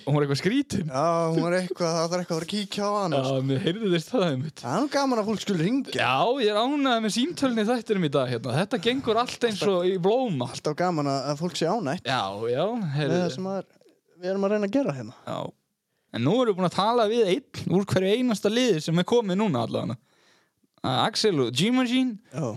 og hún var eitthvað skrítin
Já, hún var eitthvað, það var eitthvað að fara að kíkja á hann
já mér heyrði þess það einmitt
Það er nú gaman að fólk skul ringja
já ég er ánægð með símtölni þættinum í dag hérna þetta gengur allt eins og í blóma
Alltaf gaman að, að fólk sé ánætt
Já, já,
með
heyrðu
það sem að, við erum að reyna að gera hérna
já. En nú erum við búin að tala við einn úr hverju einasta liði sem er komið núna allavega Uh, Axel og G-Machine
Já,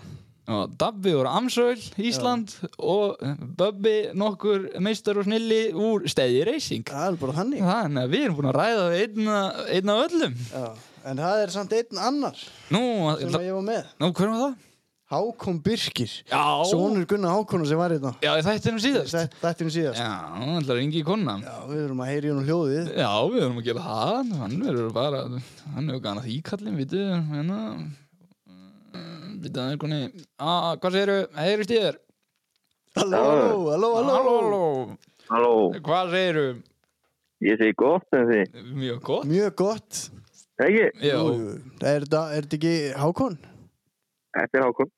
og Dabbi úr Amsöl, Ísland og eh, Böbbi nokkur meistar og snilli úr stæði reysing
það er bara þannig
Þannig að við erum búin að ræða við einna, einna öllum
Já. En það er samt einn annar
Nú,
sem
ætla-
að ég var með
nú hvernig var það?
Hákon Birkir
Já,
Sónur Gunnar Hákonar sem var hérna
já þetta er nú síðast Já,
Þetta er síðast
ætlar ringi í konan
Já, við erum að heyri hún hljóðið
Já, við verðum að gera það Hann verður bara, hann hefur gana því kallin Vitu, hérna Vitu, það er koni ah, Hvað segiru, heyri stíður
Halló, halló, halló, halló,
Halló, halló.
Halló,
Hvað segiru?
ég segi gott en þið.
Mjög gott.
Mjög gott
Ekki,
Já.
Jú, jú. Er þetta er þetta ekki Hákon?
þetta er Hákon.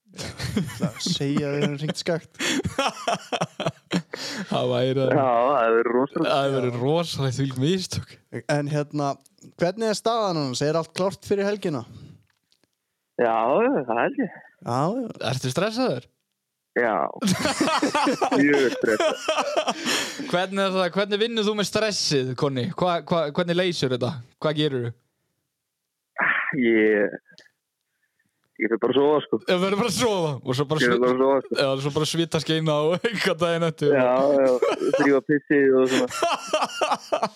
Það segja að við erum ringt skakt
Það væri
Já, það er rosalega.
Það hefur verið rosalega því mistök.
En hérna, hvernig er staðan hans? Er allt klárt fyrir helgina?
Já, það held ég.
Já, já.
Ertu stressaður? [LAUGHS]
Já. Mjög stressað.
Hvernig, er það, hvernig vinnur þú með stressið, Konni? Hva, hva, hvernig leysur þetta? Hvað gerur þú?
Ég, ég fyrir bara að sofa sko.
Það verður bara að sofa og svo bara,
Ég fyrir
svi...
bara að
[LAUGHS]
sofa sko.
Já, svo bara svita skeina á einhvern daginn eftir.
Já, já, þrýfa pissið og svona.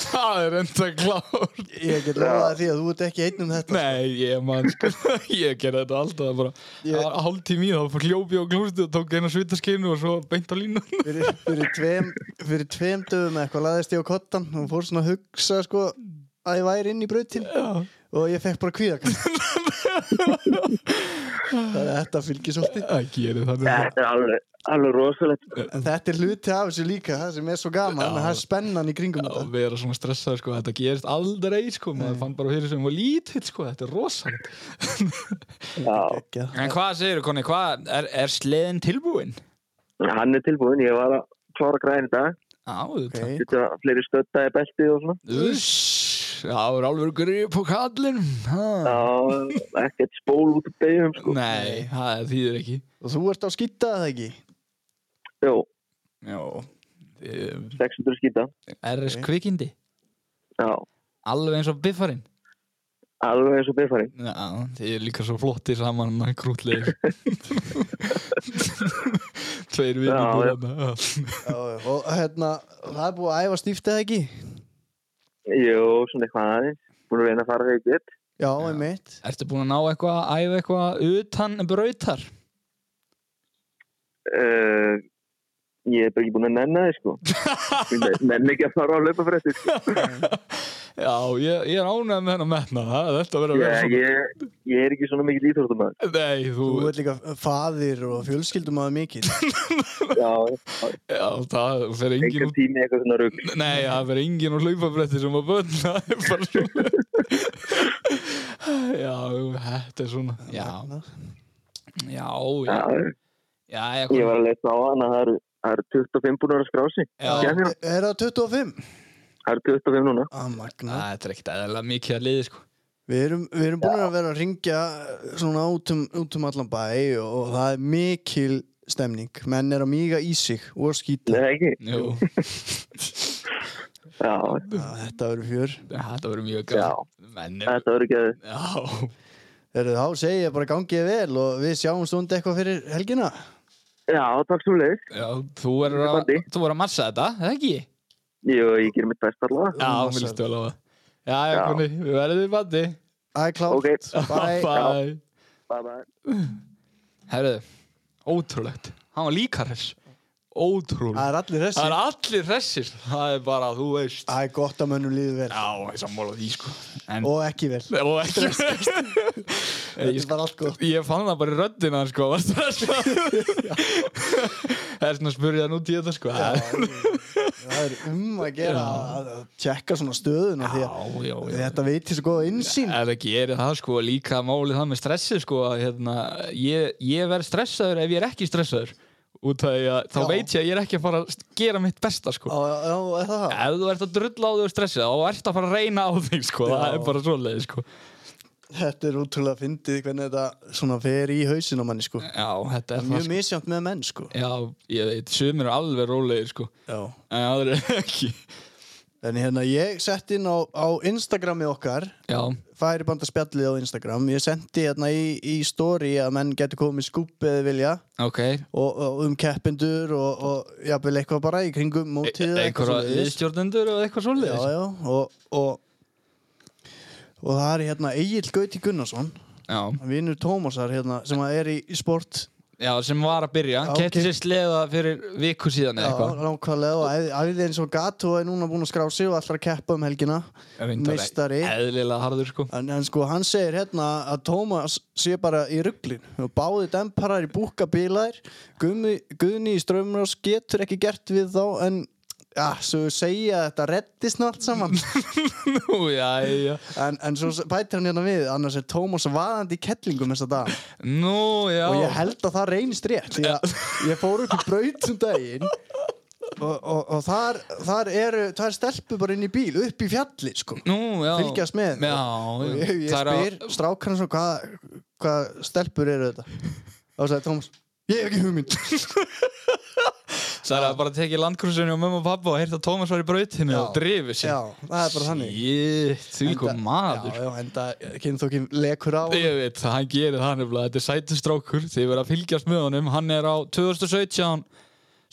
það er enda klárt.
Ég get lofaði því að þú ert ekki einn um þetta
Nei, ég man, sko, [LAUGHS] ég gerði þetta alltaf bara.
Ég-
Það var hálf tími í þá, hljópi og glústi og tók eina svita skeinu og svo beint á línu.
fyrir, fyrir tveim, fyrir tveim dögum eitthvað laðist ég á kottan og fór svona að hugsa sko að ég væri inn í brautin
Já.
og ég fekk bara kvíðakast Það er þetta fylgir svolítið
Það gerir það.
Þetta er alveg, alveg rosalegt.
En þetta er hluti af þessu líka, það sem er svo gaman
Já.
það er spennan í kringum
að
þetta
vera svona stressaður sko, þetta gerist aldrei sko, maður fann bara fyrir sem var lítill sko, þetta er rosalegt.
Já,
Geggjað.
[LAUGHS] En hvað segir þú, Konni, hvað, er, er sleðin tilbúin?
hann er tilbúin. Ég var að klára græn í dag.
Já, þú
Ok,
okay.
Þetta fleiri stötta í beltið og svona.
Uss, það er alveg grip á kallin.
Já, ekkert spól út af beigum sko.
Ah. Nei, það er þýðir ekki.
og þú ert á skýtta eða ekki?
Jó,
Já. Eh,
600 skýta.
RS kvikindi,
Já,
alveg eins og biffarinn.
alveg eins og beigfarinn.
Já, þið er líka svo flotti saman krútlegir.
[LAUGHS]
Tveir vinni
Já, já.
búinna.
Já, já. og hérna, það er búið að æfa stíft eða ekki?
Jó, svona eitthvað aðeins. Búin að reyna að fara þegar ég get.
Já, einmitt
Ertu búin að ná eitthvað, æfa eitthvað utan brautar?
Uh, ég er bara ekki búin að nenna þið sko. Ég Nenni ekki að fara á löpafrættu sko.
Já, ég, ég er ánægð með hennar metna. Þetta verður að vera
Ég, ég, ég er ekki svona mikið líþórtumæður.
Nei, þú,
Þú ert líka faðir og fjölskyldum aða mikið
Já,
já, það fer engin
engan
út,
tími eitthvað svona rugg.
nei, það fer engin úr hlaupabretti sem að bönn, [LAUGHS] það er bara svona. [LAUGHS] já, þetta er svona, já,
Hérna.
já, já, já, já,
Ég var að lesa á hann að það eru það eru 25 búin að vera skrási.
Já.
Kemjá,
Er það 25?
það eru 25 núna.
Að magna
þetta er ekkert eðalega mikið að liði, sko.
Við erum, við erum búin að vera að ringja svona út um, út um allan bæ og, og það er mikil stemning menn er að míga í sig og
Nei,
skýta
það ekki.
Jú,
Já,
Já, þetta verður fjör
þetta verður mjög
Já.
gæð. Mennir,
þetta voru ekki að...
já,
Eru þá segi ég bara gangið vel og við sjáum stund eitthvað fyrir helgina
Já, takk svo leik.
já, þú verður að,
Bandi.
þú verður að massa þetta, eða ekki?
Jú, ég ger mitt best allavega.
Já,
massa
mér listu alveg að. Já, já,
Já.
koni, við verðum í bandi.
Það er klárt
Ok.
[LAUGHS]
Bye.
Bye.
Bye bye.
Herðu, ótrúlegt Hann var líka hress
Það
Ótrúlegt
er allir
Það er
þessi
allir hressir Það er bara, þú veist
Það er gott að mönnum líður vel
Já, ég sammála því sko En
og ekki vel
[LAUGHS] Og ekki
Þetta
Ég,
er bara allt gott
ég fann það bara í röddina sko Var [LAUGHS] stressað Það er svona að spurja hann út í þetta sko Já,
Það er um að gera að að tjekka svona stöðuna því að
[LAUGHS] já, já
þetta veitir svo góða innsýn
Ef það gerir það sko, líka málið það með stressið sko, að hérna, ég, ég verð stressaður ef ég er ekki stressaður út af því að þá
Já.
veit ég að ég er ekki að fara að gera mitt besta sko.
Já, já, já, er það það?
ef þú ert að drulla á þig og stressa þá ert að fara að reyna á þig sko. það
Já.
er bara svoleið sko.
Þetta er útrúlega fyndið hvernig þetta svona fer í hausin á manni sko
já, þetta er það
Mjög
sko.
misjönd með menn sko
já, ég veit, sumir eru alveg rólegir sko.
Já.
en aðrir eru ekki
En hérna ég sett inn á, á Instagrami okkar
já,
Færi banda spjallið á Instagram Ég sendi hérna í, í story að menn getur komið skúp eða vilja
ok
og, og um keppindur og, og jafnvel eitthvað bara í kringum mótið eða eitthvað
einhverja
svoleiðis.
viðstjórnendur E- og eitthvað
Já,
svoleið já,
já, og, og, og það er hérna Egil Gauti Gunnarsson
já,
vinnur Tómasar hérna sem að er í, í sport
já, sem var að byrja
Já,
okay. kefti
ok.
sér sleða fyrir viku síðan
Já,
eða eitthvað
nákvæmlega og æði- æði eins og Gato er núna búin að skrá sig og ætlar að keppa um helgina
Reyndar
meistari.
eðlilega harður sko [LAUGHS]
en, en sko hann segir hérna að Tómas sé bara í rugglin og báði demparar í búkabílar Guðni, Guðni í strömmurás getur ekki gert við þá en ja, svo segja að þetta reddi snart saman
Nú, já, já.
en, en svo bætir hann hérna við annars er Tómas vaðandi í kettlingum þessa dag
Nú, já.
og ég held að það reynist rétt því að ég fór upp í braut um daginn og, og, og þar, þar eru tvær stelpur bara inn í bíl upp í fjalli sko
Nú, já.
fylgjast með
Já,
og
já.
ég, ég
Það er að-
spyr strákarna svo hvað hva stelpur eru þetta og sagði Tómas ég hef ekki
[LAUGHS]
hugmynd
Það er að bara tekið landkursinu og mömmu og pappa og heyrta að Tómas var í brautinu
Já.
og drifu sig.
já, það er bara þannig
Shit, því
Enda-
kom maður.
já, já, en það kynþókin lekur á
Ég veit, það hann gerir það nefnilega. Þetta er sætustrákur. Þið verða að fylgjast með honum. Hann er á 2017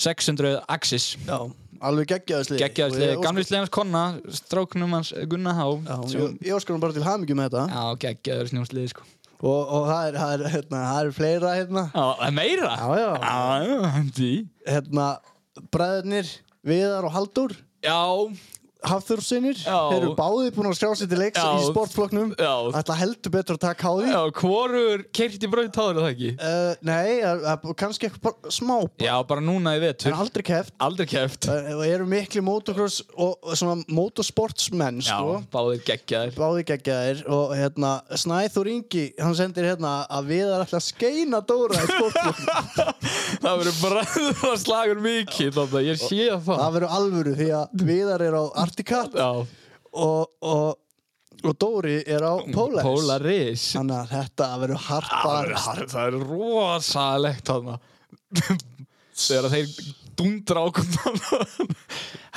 600 Axis.
já, alveg geggjaðisli
Geggjaðislega, gamlislega hans konna, stráknum hans Gunna Há.
ég, ég óskar hann bara til hamingi með þetta
Já, geggjaður snjósliði sko.
og, og það, er, það, er, hérna, það er fleira hérna
Já, það er meira.
Já, já.
Já, já, því.
hérna, bræðurnir Viðar og Haldur
Já,
Hafþurfsinnir,
Já.
þeir eru báðið búin að skrá sér til leiks
Já.
í sportflokknum
Já.
ætla heldur betur að taka á því
já, hvorur keirt í braut áður er það ekki?
Uh, nei, að- að- kannski eitthvað bara smá
Já, bara núna í
en
vetur.
aldrei keft
Aldrei kæft
og eru miklu motocross og og svona motorsportsmenn
Já,
sko
báðir geggjaðir
báði geggjaðir og hérna Snæþór Ingi, hann sendir hérna að við erum alltaf að skeina Dóra í
[LAUGHS]
sportflokknum
Það verður bræður slagur mikið þannig að ég sé að það
það verður alvöru því að viðar er á Articat
Já,
og, og, og Dóri er á Polaris,
Polaris
þannig að þetta verður hart
Það
bara
verður hart- það er rosalegt þarna [LAUGHS] Þegar að þeir dundra ákvæmt [LAUGHS]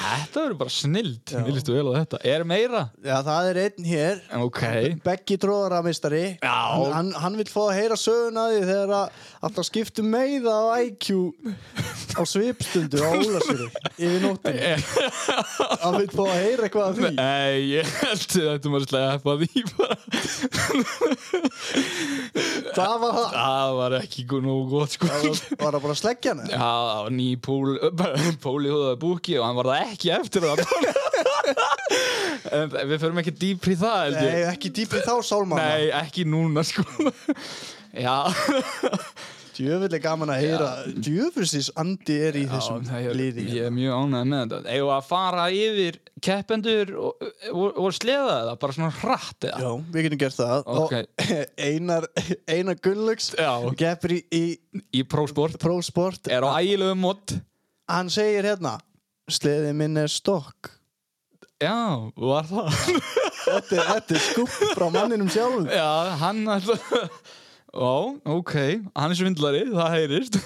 Þetta verður bara snild Mér lístu vel á þetta Er meira?
Já, það er einn hér
Ok
[LAUGHS]
[LAUGHS]
Beggi tróðaramistari
Já.
hann, hann, hann vil fá að heyra söguna af því þegar að alltaf skiptu meiða á IQ á svipstundu
[LAUGHS]
á Ólasjöru yfir nóttinu hann vil fá að heyra eitthvað af því
Nei, ég held að þetta maður slega að því bara
það var það
Það var ekki gó- nógu gott sko
það var- var það bara að sleggja hana
Já, það var ný pól, pól í hóðaði búki og hann var það ekki eftir það En við förum ekki dýpri í það held
Nei,
ég
ekki dýpi þá sálmanna
Nei, ekki núna sko Já,
Djöfull er gaman að heyra Djöfullsins andi er í þessum
það er-
liði hérna.
ég er mjög ánægð með þetta Eigum við að fara yfir keppendur og, og, og sleða það, bara svona hratt eða
Já, við getum gert það
Ok.
og [LAUGHS] Einar, Einar Gunnlaugs
Já.
geppir í, í
Í prósport,
prósport
er á ægilegu mót
hann segir hérna sleðið minn er stokk
Já, var það
þetta er, þetta er skúpp frá manninum sjálfum
Já, hann alltaf Ó, ok, hann er svindlari, það heyrist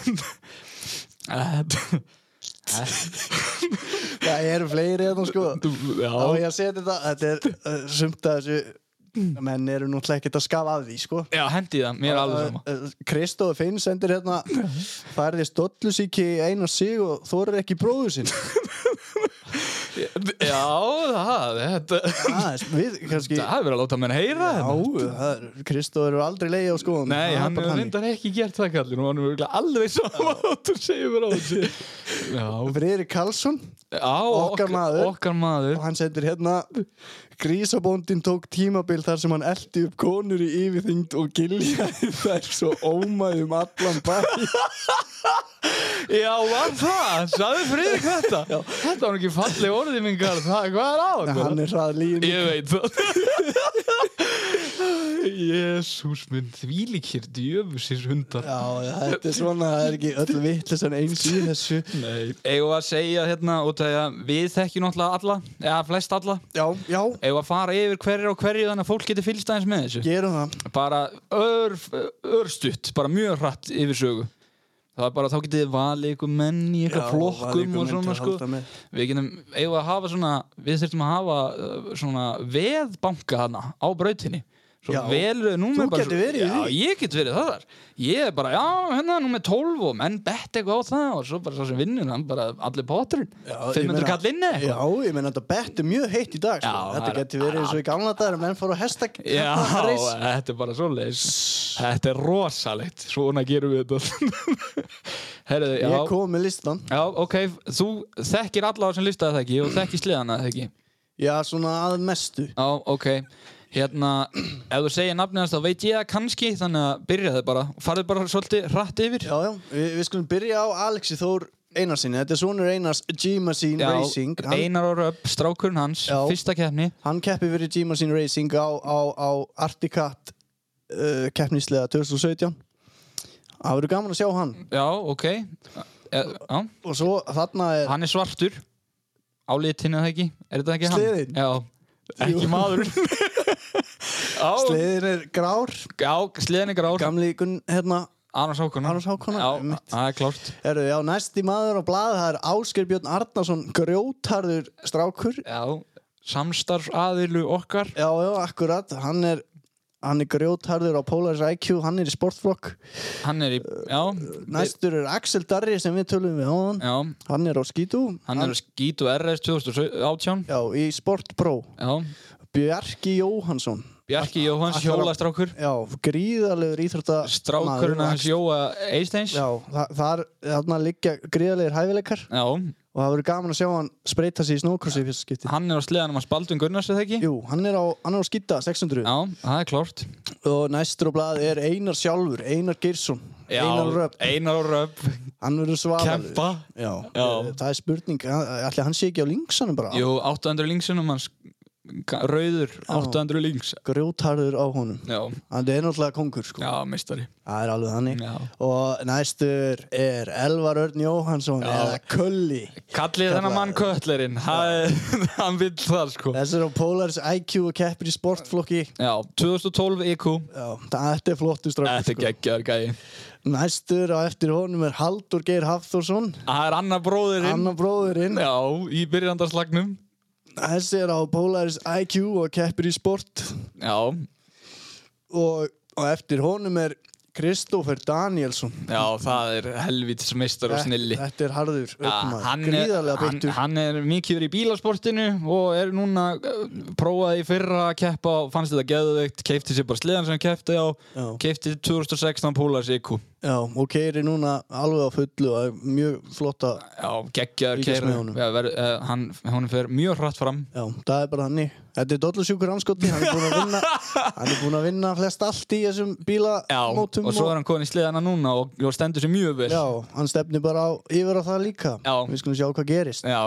Þetta-
það eru fleiri hérna sko
Þú-
þá er
Já,
ég að segja þetta þetta er uh, sumt að þessu menn eru náttúrulega ekkert að skafa að því sko
já hendi það, mér er alveg sama
Kristóð Finn sendir hérna færði stollusíki í einu sig og þorir ekki bróðu sinn
Já, það, þetta
ah, við kannski
Það er verið að láta menn heyra þetta
Kristóð eru aldrei leiði á skoðum
Nei, hann hefur reyndar ekki gert það kallin og hann er örugglega alveg sama [LAUGHS] og þú segir mér á þessu Já,
Friðrik Karlsson
á,
Okkar maður.
Okkar maður
og hann sendir hérna Grísabóndin tók tímabil þar sem hann eldi upp konur í yfirþyngd og giljaði þær svo ómaði um allan bæ
Já, var það, sagði Friðrik þetta Þetta var nú ekki falleg orðið mingar Það, hvað er á þetta?
hann er hrað líðin
Ég veit það [LAUGHS] Jésús minn þvílikir djöfusins hundar
Já, þetta er svona, það er ekki öll vittlisann eins í þessu
Nei Eigum við að segja hérna út af því að við þekkjum náttúrulega alla eða flest alla
Já, já,
Eigum við að fara yfir hverju og hverju þannig að fólk getur fylgst aðeins með þessu
gerum það
Bara ör, örstutt bara mjög hratt yfir sögu Það er bara þá getið þið valið ykkur menn í
Já, valið
eitthvað flokkum
ykkur
og
menn til
svona
að
sko
halda með.
Við getum, eigum við að hafa svona við þurfum að hafa uh, svona veðbanka hana á brautinni Svo
Já.
velur þau númer
Þú
bara
getur
svo-
verið í
Já,
því.
ég get verið þar Ég er bara, já, hérna númer 12 og menn bett eitthvað á það og svo bara svo sem vinnur hann bara allir poturinn
Já, ég
500
meina-
kall inni
Já, ég meina þetta bett er mjög heitt í dag sko.
Já,
Þetta
það er-
getur verið eins og í gamla dagar menn fóru á hesta [LAUGHS]
Já,
hestareis.
þetta er bara svo leis Þetta er rosalegt, svona gerum við þetta [LAUGHS] Herðu, já
Ég kom með listan
Já, ok, þú þekkir alla á sem listaði það ekki og þekkir sleðana það ekki
Já, svona að mestu
Já, ok Hérna, ef þú segir nafnið hans þá veit ég það kannski þannig að byrjaði bara farðu bara svolítið hratt yfir
Já, já, við, við skulum byrja á Alexi Þór Einarsinni Þetta er sonur Einars G-Machine Racing hann,
Einar og Röpp, strákurinn hans,
Já.
fyrsta keppni
hann keppi fyrir G-Machine Racing á, á, á Articat uh, keppnislega 2017 Það verður gaman að sjá hann
Já, ok e, já.
Og svo þarna er
Hann er svartur á litinu það ekki, er þetta ekki
Sleðinn?
hann? Já,
Jú.
ekki maður Já,
[LAUGHS] Sleiðin er grár
já sleðin er grár
Gamli Gunn, hérna
Annars Hákonar
Annars Hákonar,
Já,
einmitt.
það er klárt
Herru, já, næsti maður á blaði það er Ásker Björn Arnarsson grjótarður strákur
Já, samstarf aðilu okkar
Já, já, akkurat, hann er hann er grjótarður á Polaris IQ hann er í sportflokk
Hann er í, já
næstur er Axel Darri sem við tölum við á hann
Já,
hann er á skítu
hann er skít og RS 2018
já, í Sport Pro
Já,
Bjarki Jóhansson
Bjarki Jóhans,
ætlar að-
hjólastrákur
já, gríðarlegur íþrótta
Strákurinn hans Jóa Eisteins Já,
já, þa- þar, þarna liggja gríðarlegur hæfileikar og það verður gaman að sjá hann spreita sig í snókrossi í fyrsta skipti
hann er á sleðanum að Spaldun Gunnars eða ekki?
Jú, hann er á, hann er á skýta 600
Já, það er klárt
og næstur á blaði er Einar sjálfur, Einar Geirsson
Já,
Einar Röpp,
Einar og Röpp
hann verður svalur
Kempa
Já.
Já.
eh, það er spurning, hann- ætli hann sé ekki á linksanum bara
Jú, 800 linksunum hans Ka- Rauður, 800 links
grjótarður á honum
Já,
hann er náttúrulega kongur sko
já, meistari
það er alveg þannig
Já.
og næstur er Elvar Örn Jóhansson eða Kulli
Kallið þennan mann Kötlerinn Það- [LAUGHS] Hann vill það sko
þessi er á Polaris IQ og keppir í sportflokki
Já, 2012 EQ
Já, þetta er flottu
Þetta er
strafn
geggjaður gæi
næstur á eftir honum er Haldur Geir Hafþórsson
Það er annar bróðirinn
annar bróðurinn
Já, í byrjandarslagnum
þessi er á Polaris IQ og keppir í sport
Já,
og, og eftir honum er Kristófer Danielsson
já, það er helvítis meistar
Eh,
og snilli
Þetta- Þetta er harður
Já,
ökumaður,
Ah, hann, er,
gríðarlega
hann,
beittur
hann er mikið verið í bílasportinu og er núna uh, prófaði í fyrra að keppa og fannst þetta geðveikt, keipti sér bara sleðan sem hann keppti á,
Já.
keipti 2016 Polaris EQ.
Já, og Keir er núna alveg á fullu og er mjög flotta
Já, geggjaður
Fylgjast
keira.
með honum.
Já, ver, uh, hann, hann fer mjög hratt fram.
Já, það er bara þannig Þetta er dollusjúkur anskotni, hann er búinn að
[LAUGHS]
vinna hann er búinn að vinna flest allt í þessum
Já,
bílamótum
og svo er hann komin í sleðana núna og, og stendur sér mjög vel.
Já, hann stefnir bara á, yfir á það líka
Já.
Við skulum sjá hvað gerist
Já,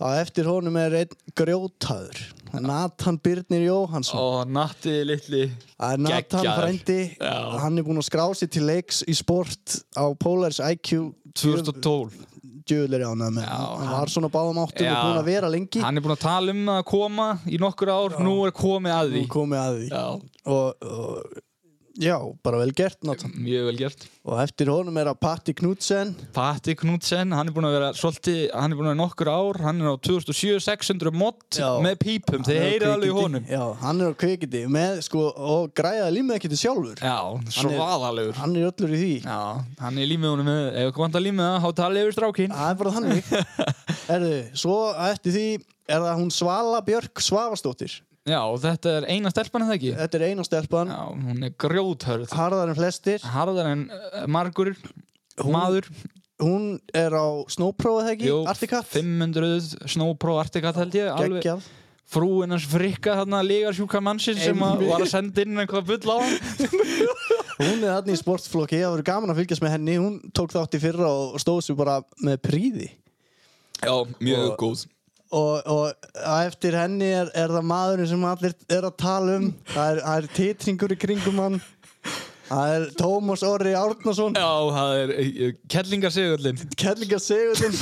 Á eftir honum er einn grjótaður Nathan Birnir Jóhansson
og Natti litli
Það er Nathan
geggjaður.
frændi
Já.
Hann er búinn að skrá sér til leiks í sport á Polaris IQ
2012.
djöðlir ánað með
Já,
Hann
hann-
var svona báðum áttum
Já.
og búinn að vera lengi
Hann er búin að tala um að koma í nokkur ár, nú er komið að því.
og komið að því
Já,
og, og já, bara vel gert Nathan
mjög vel gert.
og eftir honum er að Patti Knudsen
Patti Knudsen, hann er búinn að vera svolítið, hann er búinn að vera í nokkur ár, hann er á 2600 mod
Já.
með pípum,
Hann
þið
er á
heyrið alveg í
kvikindi.
honum.
já, hann er á kvikindi með, sko, og græðaði límið ekki til sjálfur
Já, svaðalegur.
hann er öllur í því
Já, hann er límið honum með, ef ekki vant að límið það, þá talið yfir strákinn.
það er bara
[LAUGHS]
þannig Erðu, svo að eftir því er það hún Svala Björk Svavastóttir
Já, og þetta er eina stelpan eða ekki?
þetta er eina stelpan,
Já, hún er grjóthörð.
harðar en flestir
Harðar en uh, margur, maður,
hún er á snóprófið ekki,
jú,
Artikat
500 snópró artikat held ég, alveg
geggjað
frúinn hans frikka þarna lígarsjúka mannsinn sem að
Einmitt.
var að senda inn eitthvað bull á hann.
[LAUGHS] Hún er þarna í sportflokki, það verður gaman að fylgjast með henni Hún tók þátt í fyrra og stóð sér bara með príði
Já, mjög góð.
Og, og á eftir henni er, er það maðurinn sem allir er að tala um Það er, það er titringur í kringum hann Það er Tómas Orri Árnason
Já,
eh,
það er kellingar segurlinn
Kellinga Sigurðin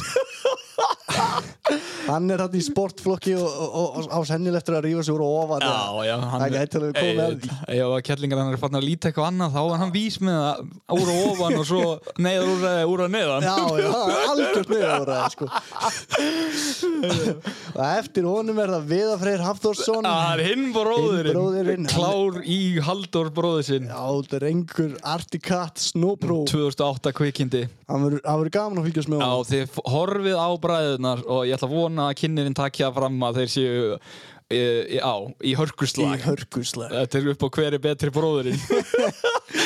hann er hann í sportflokki og, og, og, og á sennilegt að rífa sig úr og ofan
Já, já, hann
Það gæti alveg komið að því.
Ef ef að kjallingar hann er farin að líta eitthvað annað þá var hann vís með það úr og ofan og svo neyður úr, eh, úr að neðan
Já, já, algjört niðurvaraði sko. og eftir honum er það Viðar Freyr Hafþórsson
Það er hinn bróðurinn,
Hinn bróðirinn, hann-
Klár í Halldór bróður sinn
Já, drengur, Articat, Snowpro
2008 kvikindi
Hann verður hann verður gaman að fylgjast með
Já,
honum
þið f- horfið á bræðunar og ég ætla að vona að kynnin takja fram að þeir séu e, e, á,
í
í hörkuslag
hörkuslega
Þetta er upp á hver er betri bróðurinn
[LAUGHS]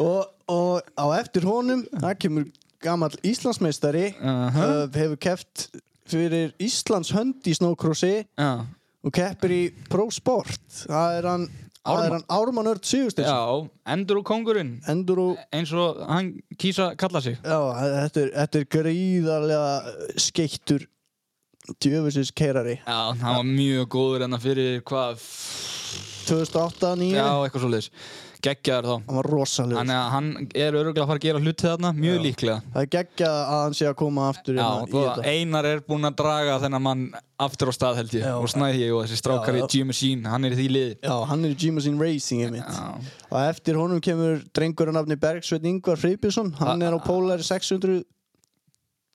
og, og á eftir honum það kemur gamall Íslandsmeistari
Aha.
uh, hefur keft fyrir Íslands hönd í snókrossi
Já,
og keppir í ProSport það er hann, það er hann Ármann Örd
já,
Sigurstins
endur og kongurinn
endur og
eins og hann kýsa kalla sig
já, þetta er, þetta er gríðarlega skeittur djöfusins keirari
Já, hann var mjög góður enna fyrir hvað, f-
2008-2009
já,
hann
eitthvað svoleiðis Geggjaður þá
var rosalegur
Þannig að hann er öruglega að fara að gera hluti þarna, mjög líklega
það er geggjað að hann sé að koma aftur
Já,
hérna í
og
þetta.
Einar er búinn að draga þennan mann aftur á stað held ég
Já.
og snæði ég og þessi
Já,
strákar í
já.
G-Machine, hann er í því liði
Já, hann er í G-Machine Racing einmitt. Og eftir honum kemur drengur að nafni Bergsveit Ingvar Freybjörnsson.
Ah.
Hann er á Polar 600...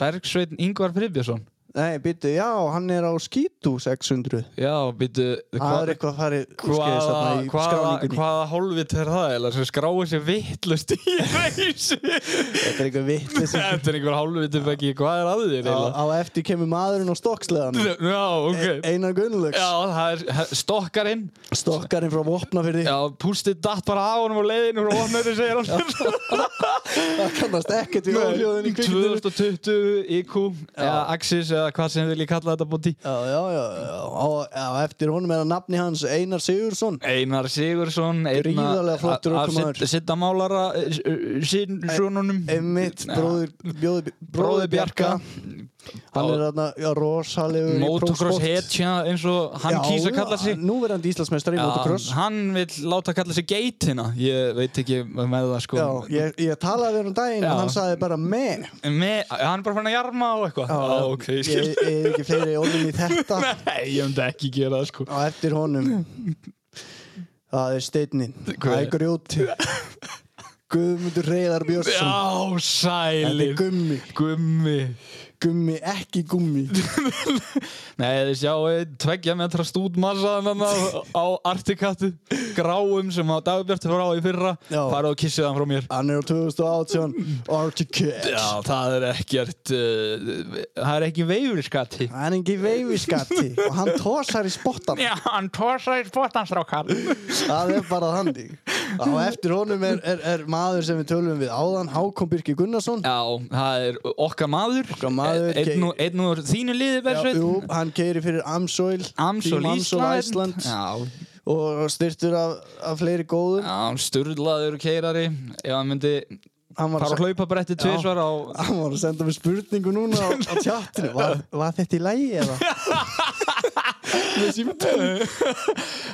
Bergsveitn Ingvar Friðbjörnsson
Nei, býttu, já, hann er á Skítu 600.
Já, býtu
Það er eitthvað farið úrskeiðis þarna í
hvaða,
skráningunni.
hvaða hálfitt er það eða sem skráir sér vittlust í [LAUGHS] reysi
Þetta er eitthvað vitlis.
[LAUGHS] Þetta er einhver hálfitt um ekki, hvað er að
á,
þér eiginlega?
á eftir kemur maðurinn á stokksleðanum.
Já, ok
Einar Gunnlaugs.
Já, það er he- stokkarinn
Stokkarinn frá Vopnafyrði.
Já, pústið datt bara á honum og leiðin úr ofnöðu segir hann
Það kannast ekkert við óljóðin í kvikmyndinu.
2020 IQ eða Axis eða hvað sem vil ég kalla þetta bóti
Já, já, já. já. Á- Á eftir honum er að nafni hans Einar Sigursson.
Einar Sigursson
Gríðarlega flottur ökumaður.
Sitta málara eh, Sinn svonunum
Emmitt, bróðir, bjóði,
Bróði
bróðir
Bjarka
Bjarka. Hann er þarna já, rosalegur í
Motocross
prófsport.
hetja eins og
Já,
hann kýsa að kalla sig
Núverandi Íslandsmeistari í motocross
Já, hann vill láta kalla sig geitina ég veit ekki með það sko
Já, ég, ég talaði við hann um daginn
Já.
en hann sagði bara með
Me, hann er bara fann að jarma og eitthvað Já, ok, ég
Ég
skil
ég
[LAUGHS]
er ekki fleiri orðin í þetta
Nei, ég myndi ekki gera það sko
á eftir honum Það er steinnin
Hvað
Það
er?
er grjóti Guðmundur Reyðar Björnsson
Já,
Þetta er
sælir
gummi,
Gummi
gummi, ekki gummi
Nei, þið sjáu tveggja metra stúdmassaðan hann á, á Artikattu gráum sem að Dagbjartur fór á í fyrra
Já.
farið og kissið hann frá mér
Hann er á 2018 Articat
Já, það er ekkert uh, það er ekki veifurskatti
Hann er ekki veifiskatti og hann tosar í spottan
Já, hann tósa í spotanstrákar
Það er bara þannig Á eftir honum er, er, er maður sem við tölum við áðan Hákon Birki Gunnarsson
Já, það er okkar maður
Okkar maður,
Einn úr- Einn úr þínu liði, Bersveit
Jú, hann keiri fyrir Amsoil
Amsól
Team Amsoil
Ísland
Ísland
Já,
og styrtur af, af fleiri góðum
já sturlaður keirari ef hann myndi
Hann var,
fara
að,
að hlaupa bretti tvisvar á
se- hann var að senda mér spurningu núna á, á
[LAUGHS]
tjattinu var, var þetta í lægi eða?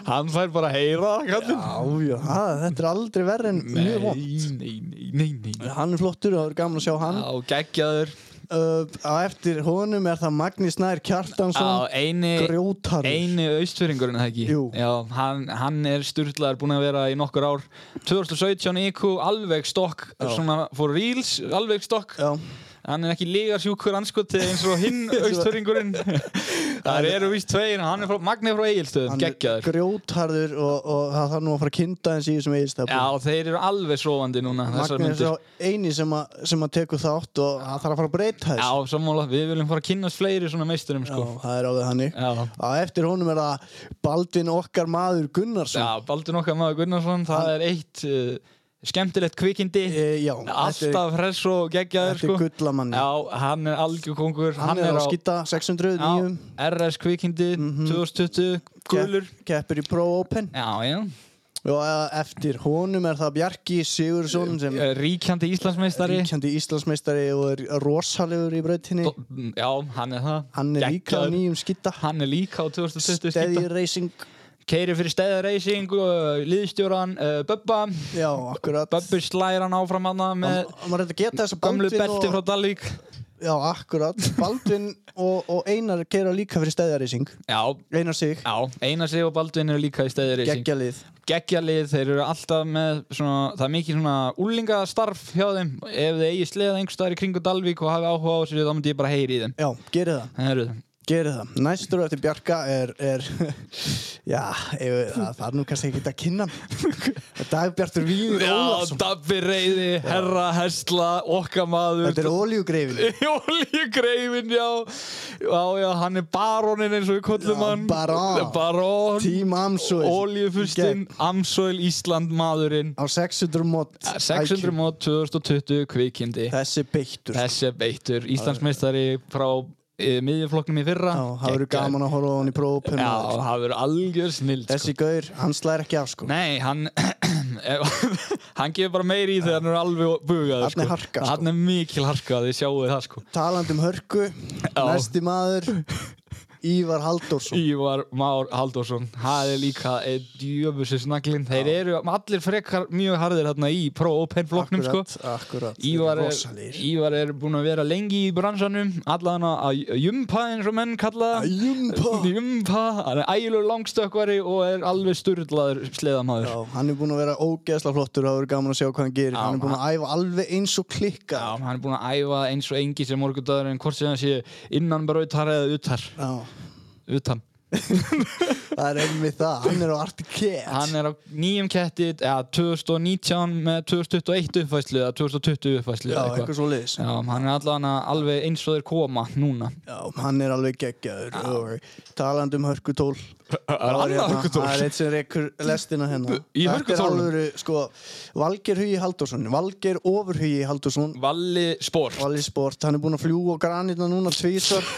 Hann fær bara að heyra það, kallinn
Já, já, ha, þetta er aldrei verð en mjög vond
Nei, nei, nei, nei
Hann er flottur og það er gaman að sjá hann
Á geggjaður
uh, Á eftir honum er það Magni Snær
Á
Kjartansson
eini
Grjótarur
Eini austfyrringurinn það ekki
Jú.
Já, hann, hann er sturlaður búinn að vera í nokkur ár 2017 IQ, alveg stokk Svona for reals, alveg stokk
Já,
Hann er ekki lígarsjúkur anskoti eins og
[LAUGHS]
hinn austfyrringurinn Það eru víst tveir Hann er frá, Magni er frá Egilstöðum,
hann er
geggjaður
grjótarður og, og það þarf nú að fara að kynda eins í þessum eilstafn
Já, þeir eru alveg sofandi núna
Magni
Þessar
er
myndir
sá eini sem að, sem að tekur þátt og það þarf að fara að breyta
Já,
þess
sammála, við viljum fara að kynnast fleiri svona meisturum sko.
það er áður hannig
Já.
á eftir honum er það Baldvin okkar maður Gunnarsson
Já, Baldur nokkað maður Gunnarsson, það er eitt uh, skemmtilegt kvikindi
Eh, já, þetta er-
Alltaf hress og geggjaður
þetta er
sko.
gullamanni
Já, hann er algjör kongur
hann, er á Mhm. skýta 600
já,
nýjum
RS kvikindi 2020, gulur
keppur í Pro Open
Já, já,
og á eftir honum er það Bjarki Sigursson sem er
Eh, ríkjandi Íslandsmeistari
ríkjandi Íslandsmeistari og er rosalegur í brautinni
Do- mm, Já, hann er það
hann er líka á
Geggjaður.
nýjum skýta
Hann er líka á
Steady
2020 skýta
Racing
Keiri fyrir Steði Racing og liðstjóran uh, Bubba
já, akkurat
Bubbi slæra hann áfram hann með
maður reynda að geta þess að
gamlu belti frá Dalvík
já, akkurat Baldvin og, og Einar keira líka fyrir stæðarísing
Já,
Einar sig,
já, Einar Sig og Baldvin eru líka í stæðir
geggjalið
geggjalið, þeir eru alltaf með svona, það er mikið svona úlingastarf hjá þeim, ef þið eigi sleða einhvers staðar í kringu Dalvík og hafi áhuga á þessu þá myndi ég bara heyri í þeim
Já, gerið það,
Það eru
gerið það Næstur eftir Bjarka er, er [LAUGHS] Já, ef, það það er nú kannski ekki að kynna hann. Dagbjartur Víður
Já,
Ólafsson
Dabbi Reyði, Herra Hesla, Okkamaður
Þetta er
[LAUGHS]
oljugreifin
Jólíugreifin, já Já, já, hann er barónin eins og við kollum
Já,
hann
barón.
Barón,
Tím Amsoil
Oljufustin, Amsoil Ísland maðurinn
Á 600 mod
600
IQ.
mót 2020 kvikindi
Þessi beittur
Þessi er beittur, Íslandsmeistari frá e, miðjuflokknum í fyrra
Já, það verður
Geggjaður.
gaman að horfa á hann í prófum
Já, það verður algjör snild sko.
Þessi gaur, hann slæðir ekki af sko
Nei, hann [COUGHS] ef- hann gefur bara meiri í þegar hann er alveg bugaður
Þarna er harka, sko.
Hann er mikil harka, þið sjáuð það sko
Talandi um hörku,
Já.
næsti maður Ívar Halldórsson
Ívar Már Halldórsson Það er líka djöfusi snaglinn Þeir eru allir frekar mjög harðir þarna í pro-open flokknum sko
Akkurat, akkurat
Ívar er,
Rosalegir.
Ívar er búin að vera lengi í bransanum allan að- að jumpa eins og menn kalla það.
Jumpa
jumpa, hann er ægilegur langstökkvari og er alveg sturlaður sleðamaður
Já, hann er búinn að vera ógeðsla flottur og það verður gaman að sjá hvað hann gerir Hann er búinn að æfa alveg eins og klikka
Já, hann er búin að æfa eins og engi sem morgundagur en hvort sem hann sé innan brautar eða utar,
Já,
utan.
það er einmitt það, hann er á Artiket
Hann er á nýjum ketti, eða 2019 með 2021 uppfæslu eða 2020 uppfæslu
Já,
eða
eitthvað svo liðis
Já, hann er allan að alveg eins og þeir koma núna.
Já, hann er alveg geggjaður og talandi um hörkutól
Það
Það er hérna- Það er eitt sem rekur lestina hérna
Í hörkutólnum?
Þetta er alveg, sko, Valgeir Hugi Halldórsson Valgeir Ofur Hugi Halldórsson
Valli Sport.
Valli Sport, hann er búinn að fljúa á granitna núna tvísar
[LAUGHS]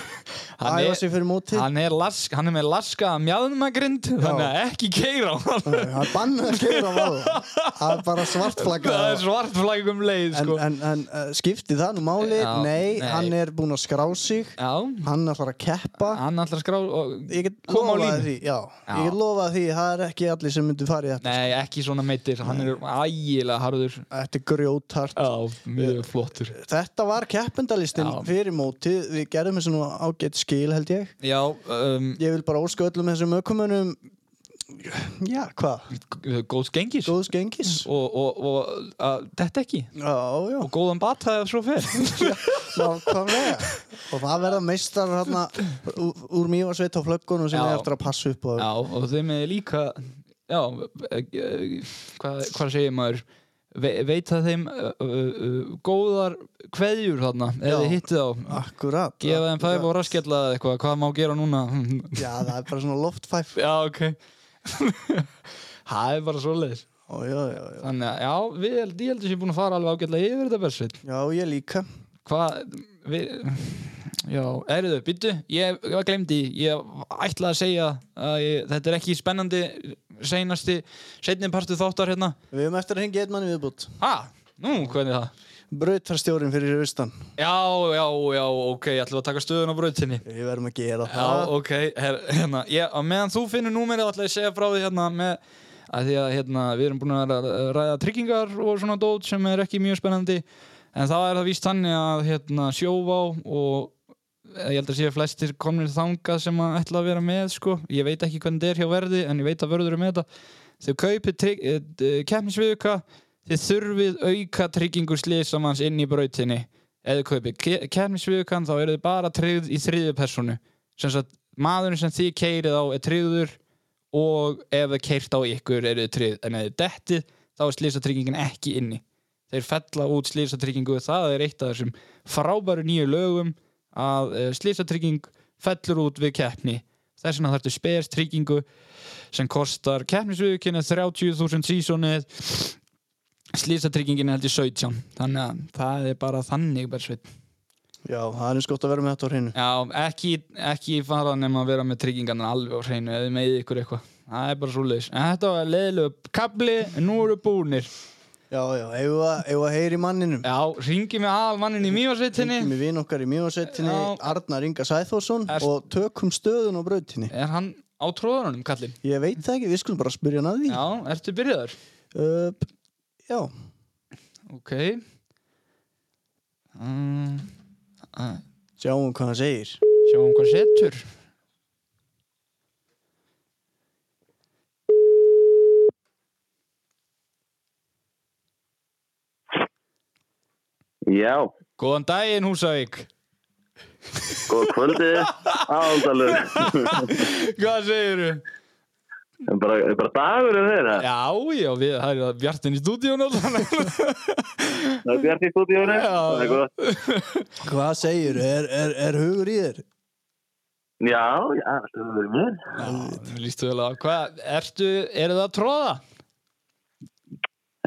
Hann
Æfa
er-
sig fyrir móti
Hann er, las, hann er með laska mjadmagrind, þannig að ekki keira á hann.
Það er bannað að keira á valla Það er bara svartflagga
Það er svart flagg um leið,
En,
sko.
en, en uh, skipti það nú máli?
Já,
nei,
nei.
hann er búinn að skrá sig
Já,
Hann ætlar að keppa
hann ætlar að skrá og
Ég get
koma á línu.
lofað því, já,
Já.
Ég get lofað því, það er ekki allir sem myndu farið þetta
Nei, ekki svona meittir, hann er ægilega harður Eh,
Þetta er grjótart
Já, mjög flottur
Þetta var keppendalistin
Já.
fyrir mótið Við gerðum þessu nú ágætt skil held ég
Já, um,
Ég vil bara óska öllum þessum ökumönum Já, hvað?
g- góðs gengis
Góðs gengis
og, og, og að, þetta ekki
Já, já,
og góðan bata ef svo fer
nákvæmlega Og það verða meistar hérna úr, úr mývarsveit á flöggunum sem
Já.
er eftir að passa upp á
[LAUGHS] Já, og þeim er líka já, e- e- hvað, hvað segir maður Ve, veita þeim uh, uh, góðar kveðjur þarna ef
Já.
þið hittið á
Akkurat
gefa þeim fæf og raskjalla eða eitthvað hvað má gera núna [LAUGHS]
Já, það er bara svona loftfæf
Já, [LAUGHS] ok Það er bara svoleiðis
Ó, já, já, já.
Þannig að, já, við, held- ég heldur sem búin að fara alveg ágætlega yfir þetta bersveit
já, ég líka
hvað við, já, eriðu, byttu ég, ég glemdi, ég ætlaði að segja að ég, þetta er ekki spennandi seinasti, seinni partu þáttar hérna,
Við höfum eftir að hengja einn mann í viðbútt
ha, nú, hvernig er það
Brautarstjórin fyrir austan
já, já, já, ok, ég ætlaði að taka stöðun á brautinni
Við verðum að gera
já,
það
ok, her, hérna ég, á meðan þú finnur númerið ætlaði ég að segja frá því hérna með að því að hérna, við erum búin að ra- ræða tryggingar og svona dót sem er ekki mjög spennandi en þá er það víst þannig að hérna, sjóvá og eh, ég held að séu flestir komnir þangað sem að ætla að vera með sko. ég veit ekki hvernig þetta er hjá verði en ég veit að verður er með þetta þau kaupið keppnisviðuka þið þurfið auka tryggingu slisamanns inn í brautinni eða kaupið keppnisviðukan þá eru þið bara tryggð í þriðju personu sem sagt maðurinn sem þið keirið á er tryggður og ef það keirt á ykkur eru þið tryggð en ef þið dettið þá er slísatryggingin ekki inni þeir fella út slísatryggingu það er eitt af þessum frábæru nýju lögum að eh, slísatrygging fellur út við keppni þess vegna þarftu spes tryggingu sem kostar keppnisviðukinu 30.000 sísonið slísatryggingin er heldur 17 þannig að það er bara þannig bersveit
Já, það er eins gott að vera með þetta á hreinu
Já, ekki, ekki fara nema að vera með tryggingarnar alveg á hreinu eða með ykkur eitthvað. Það er bara svo leiðis. En þetta var leiðilegu kabli, en nú eru búnir.
Já, já, eigum við að- eigum við að heyri manninum
Já, ringi mig aðal mannin í
Hengjum
mývarsveitinni.
við vinn okkar í mjögsettinni
Já.
Arnar Inga Sæþórsson
Er-
og tökum stöðun á brautinni
Er hann á tróðanum, kallinn?
Ég veit það ekki, við skulum bara spyrja hann að því
Já, ertu byrjaður?
uh, Já,
Ok. Um, Æ,
Sjáum hvað hann segir
Sjáum hvað setur
Já,
Góðan daginn Húsavík
góð
[LAUGHS]
kvöldið, aðaldalur.
Hvað segirðu?
En bara, er bara dagur er þeirra.
Já, já, við, það er bjartin í stúdíun
Það er bjart í stúdíónu.
Já,
það er
já.
gott.
Hvað segir, er, er, er hugur í þér?
Já, já, það er mér.
Lýstu vel að hvað, ertu, eru það að tróða?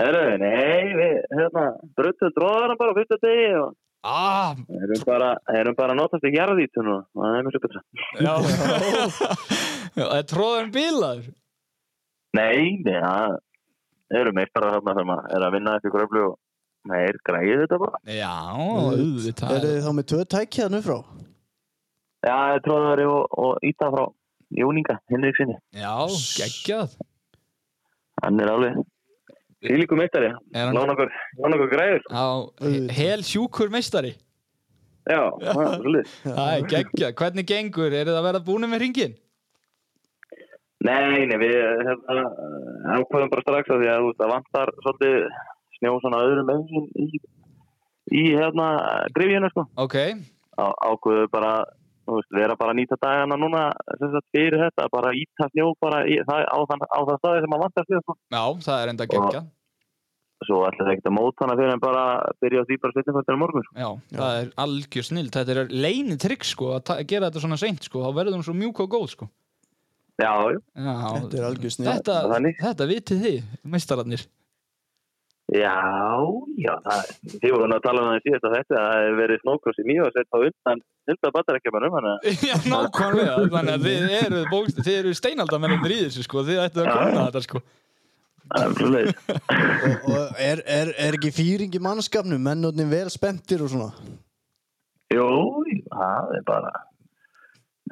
Herru, nei, við, hérna, bruttum dróðana bara á fyrsta degi og
Ah,
erum bara, erum bara að notast í jarðítunum og það er mjög betra.
já Já, [LAUGHS] er tróðan bílaður?
Nei, nei, það eru meitt bara þarna þegar maður er að vinna eftir gröflu og maður er græðið þetta bara.
Já,
Er
auðvitað
þið þá með tvö tæki hann frá?
Já, ég tróðari og, og íta frá Jóninga, henni sinni.
Já, geggjað
Hann er alveg fylíku meittari.
Er hann-
Lána okkur, lána okkur græður.
Já, hel sjúkur meistari
Já, það er svolítið.
Það er geggjað, hvernig gengur, eru það að vera búinu með ringin?
Nei, nei, við hérna, ákveðum bara strax að því að þú veist, það vantar svolítið snjó svona öðrum meginn í, í hérna grifjuna, sko.
Ok,
Á- Ákveðum bara, þú veist, vera bara að nýta dagana núna, sem sagt, fyrir þetta, bara íta snjó bara í, það, á, þann, á það staði sem að vantar snjó, sko.
já, það er enda geggjað
Svo ætla það ekkert að móta hana fyrir en bara byrja á því bara setjum þetta um morgun, sko.
Já, það er algjör snill Þetta er leini trygg sko að ta- gera þetta svona seint sko, þá verður hún svo mjúk og góð sko
Já, jú.
Já,
Þetta er algjör snill
þetta,
Þannig.
þetta vitið þið,
[LAUGHS]
meistararnir
Já, já, það er, þið voru nú að tala um það í síðasta þetta, það hefur verið snókross í mjög að setja á undan, undan batarækjumanum, hann að
Já, nákvæmlega, þannig að þið eru, bókst, þið eru steinaldamennir í þessu sko, þið ættu að kunna þetta sko
það er um svoleiðis. [LAUGHS]
Og, og er, er, er ekki fýring í mannskapnum? Mennotnin vel spenntir og svona
Jú, jú, það er bara,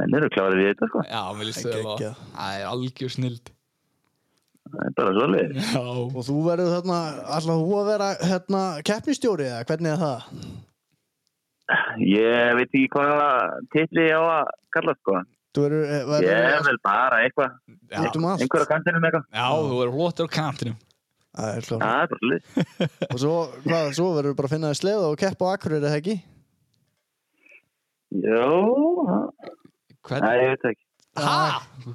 menn eru klárið í þetta, sko,
Já, mér líst
Það er
þau að
geggjað.
það er algjör snild
það er bara svoleiðis.
Já,
Og þú verður þarna, alltaf þú að vera hérna, keppnistjóri eða hvernig er það?
Ég veit ekki hvað titli ég á að kalla, sko,
Þú verður, eh, verður
ég er vel bara eitthvað,
já,
Út um allt
einhverja kantinum eitthvað,
já þú eru hlótur á kantinum
Það er klart
það er bara svoleiðis.
Og svo, hvað, svo verður bara að finna þér sleða og keppa á akkur er það ekki?
Jú, það-
Hvern,
það er þetta ekki,
ha,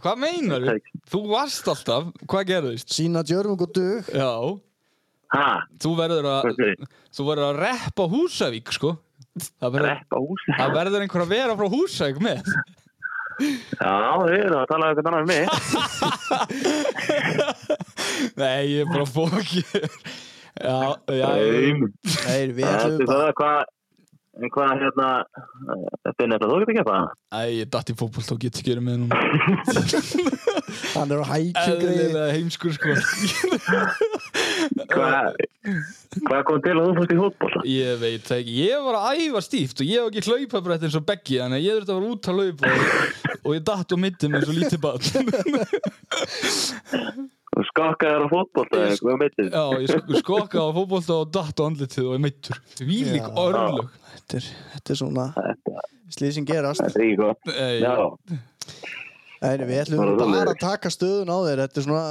Hvað meinar
það er ekki.
Þú varst alltaf, hvað gerðist?
Sýna djörmung og dug
Já,
Ha,
þú verður að
hvað séu,
þú verður að reppa Húsavík sko Það verður,
reppa húsið.
það verður einhver að vera frá Húsavík með [LAUGHS]
Já, þið eru að tala um eitthvað annar um mig.
Nei, ég er bara fókir Já, já ég-
Nei,
Nei, við
Þetta
ætlum
er
bara
það hvað En hvað hérna, þetta er nefnilega þú getur ekki að það?
Æ, ég datt í fótbolt og get ekki verið með núna
Hann er á hækju greið
Eðlilega heimskur sko
Hvað, hvað kom til að þú fórst í fótbolta?
Ég veit það ekki, ég var að æfa stíft og ég hef ekki hlaupabrett eins og Beggi Þannig að ég þurfti að vera út að hlaupa og, og ég datt á mittum eins og lítið bann
Þú skakkaði þér á fótbolta eða hvað meittið?
Já, ég sk skokka á fótbolta og datt á andlitið og ég mittur Vílík
Já.
örlög
Þetta er- þetta er svona
Þetta
slýsing gerast
þetta er ekki gott.
Nei,
Já,
Nei, við ætlum
Bara
bara
rólegir.
að taka stöðun á þér Þetta er svona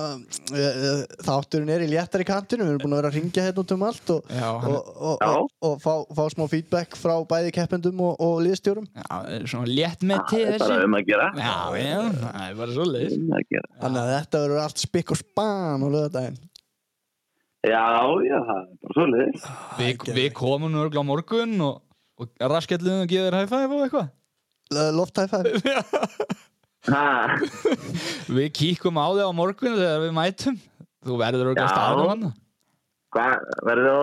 eh, eh, Þátturinn er í léttari kantinu Við erum búin að vera að ringja hérna út um allt og,
Já, hann-
og, og,
Já.
og, og fá, fá smá feedback frá bæði keppendum og, og liðstjórum
já, það er svona létt með til
það er bara
þessi
um að gera.
Já, já, það er bara svo leiðis
Um að gera.
Þannig að þetta verður allt spikk og span á lögadaginn
Já, já, það er bara svolítið.
Við við komum nú örgulega á morgun og, og rasketluðum og gefur high five og eitthvað
Lofthæfæð
[LAUGHS]
Ha,
Við kíkum á þig á morgun þegar við mætum Þú verður örgulega
Já.
staðan á hana
Hvað, verður þú á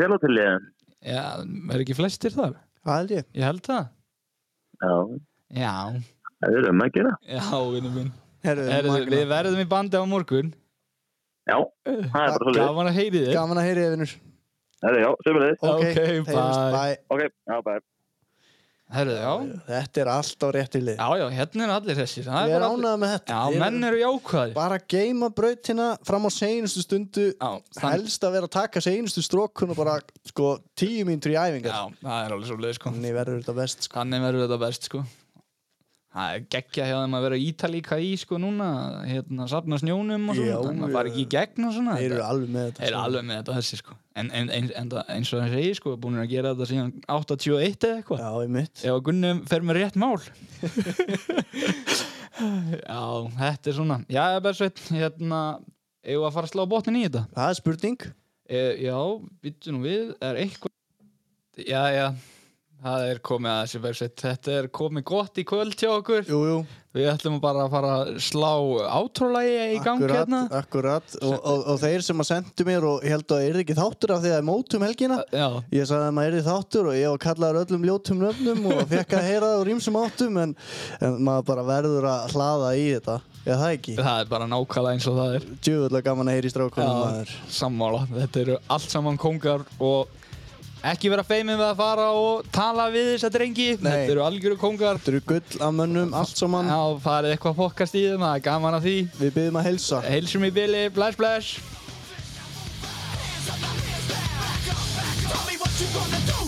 félagsliðin?
Já, er ekki flestir þar?
Það held ég
Ég held það
Já,
Já,
það er um að gera.
já, vinnu minn
Herru,
Herðu,
magnað.
Við verðum í bandi á morgun
Já, það er bara svolítið.
Gaman að heyri þig
Gaman að heyri efinur
Það er já, sömulegið.
Ok,
Ok,
heyrumst,
bye.
bye
Ok, já, bara.
Herðu, já.
Þetta er allt á rétti lið
Já, já, hérna eru allir þessir.
Ég
Það
er
bara allir-
ánægð með þetta
Já,
Ég
menn eru jákvæðir.
Bara að geima brautina fram á seinustu stundu
Já, þann-
Helst að vera að taka seinustu strókun og bara sko tíu mínútur í æfingar
Já, það er alveg svo leið, sko.
Þannig verður þetta best sko
Þannig verður þetta best, sko. Það er geggja hjá þeim að vera ítalíka í, sko, núna. Hérna, safna snjónum og
Já,
svona. Þannig að fara ekki í gegn og svona.
Þeir eru
Þetta-
alveg með þetta
Þeir eru alveg með þetta þessi, sko. En, en, en, en það- eins og hann segir, sko, búin að gera þetta síðan 81 eða eitthvað.
Já, ég mitt
Ef að Gunni fer með rétt [LAUGHS] mál Já, þetta er svona Já, Bersveit, hérna Eigum við að fara að slá botnin í þetta?
Það er spurning
E, já, býttu nú við Er eitthvað Já, já, það er komið að þessi Bersveit Þetta er komið gott í kvöld hjá okkur
Jú, jú
Við ætlum bara að fara að slá átrúlega í gang
Akkurat,
hérna
akkurat og, og, og þeir sem að sendu mér og ég held að það er ekki þáttur af því að það er mótum helgina
Já,
Ég sagði að maður er í þáttur og ég var kallaður öllum ljótum nöfnum og fekk að heyra það úr ímsum áttum en, en maður bara verður að hlaða í þetta Eða það ekki
það er bara nákvæmlega eins og það er
Djúvöldlega gaman að heyra í strákunum maður
sammála, þetta eru allt saman kongar og ekki vera feimið við að fara og tala við þess að drengi þetta eru algjöru kongar
Þetta eru gull af mönnum, allt saman
þá farið eitthvað fokast í þeim, það er gaman að því
Við byggjum að heilsa
heilsum í bili, bless bless
Tell me what you gonna do.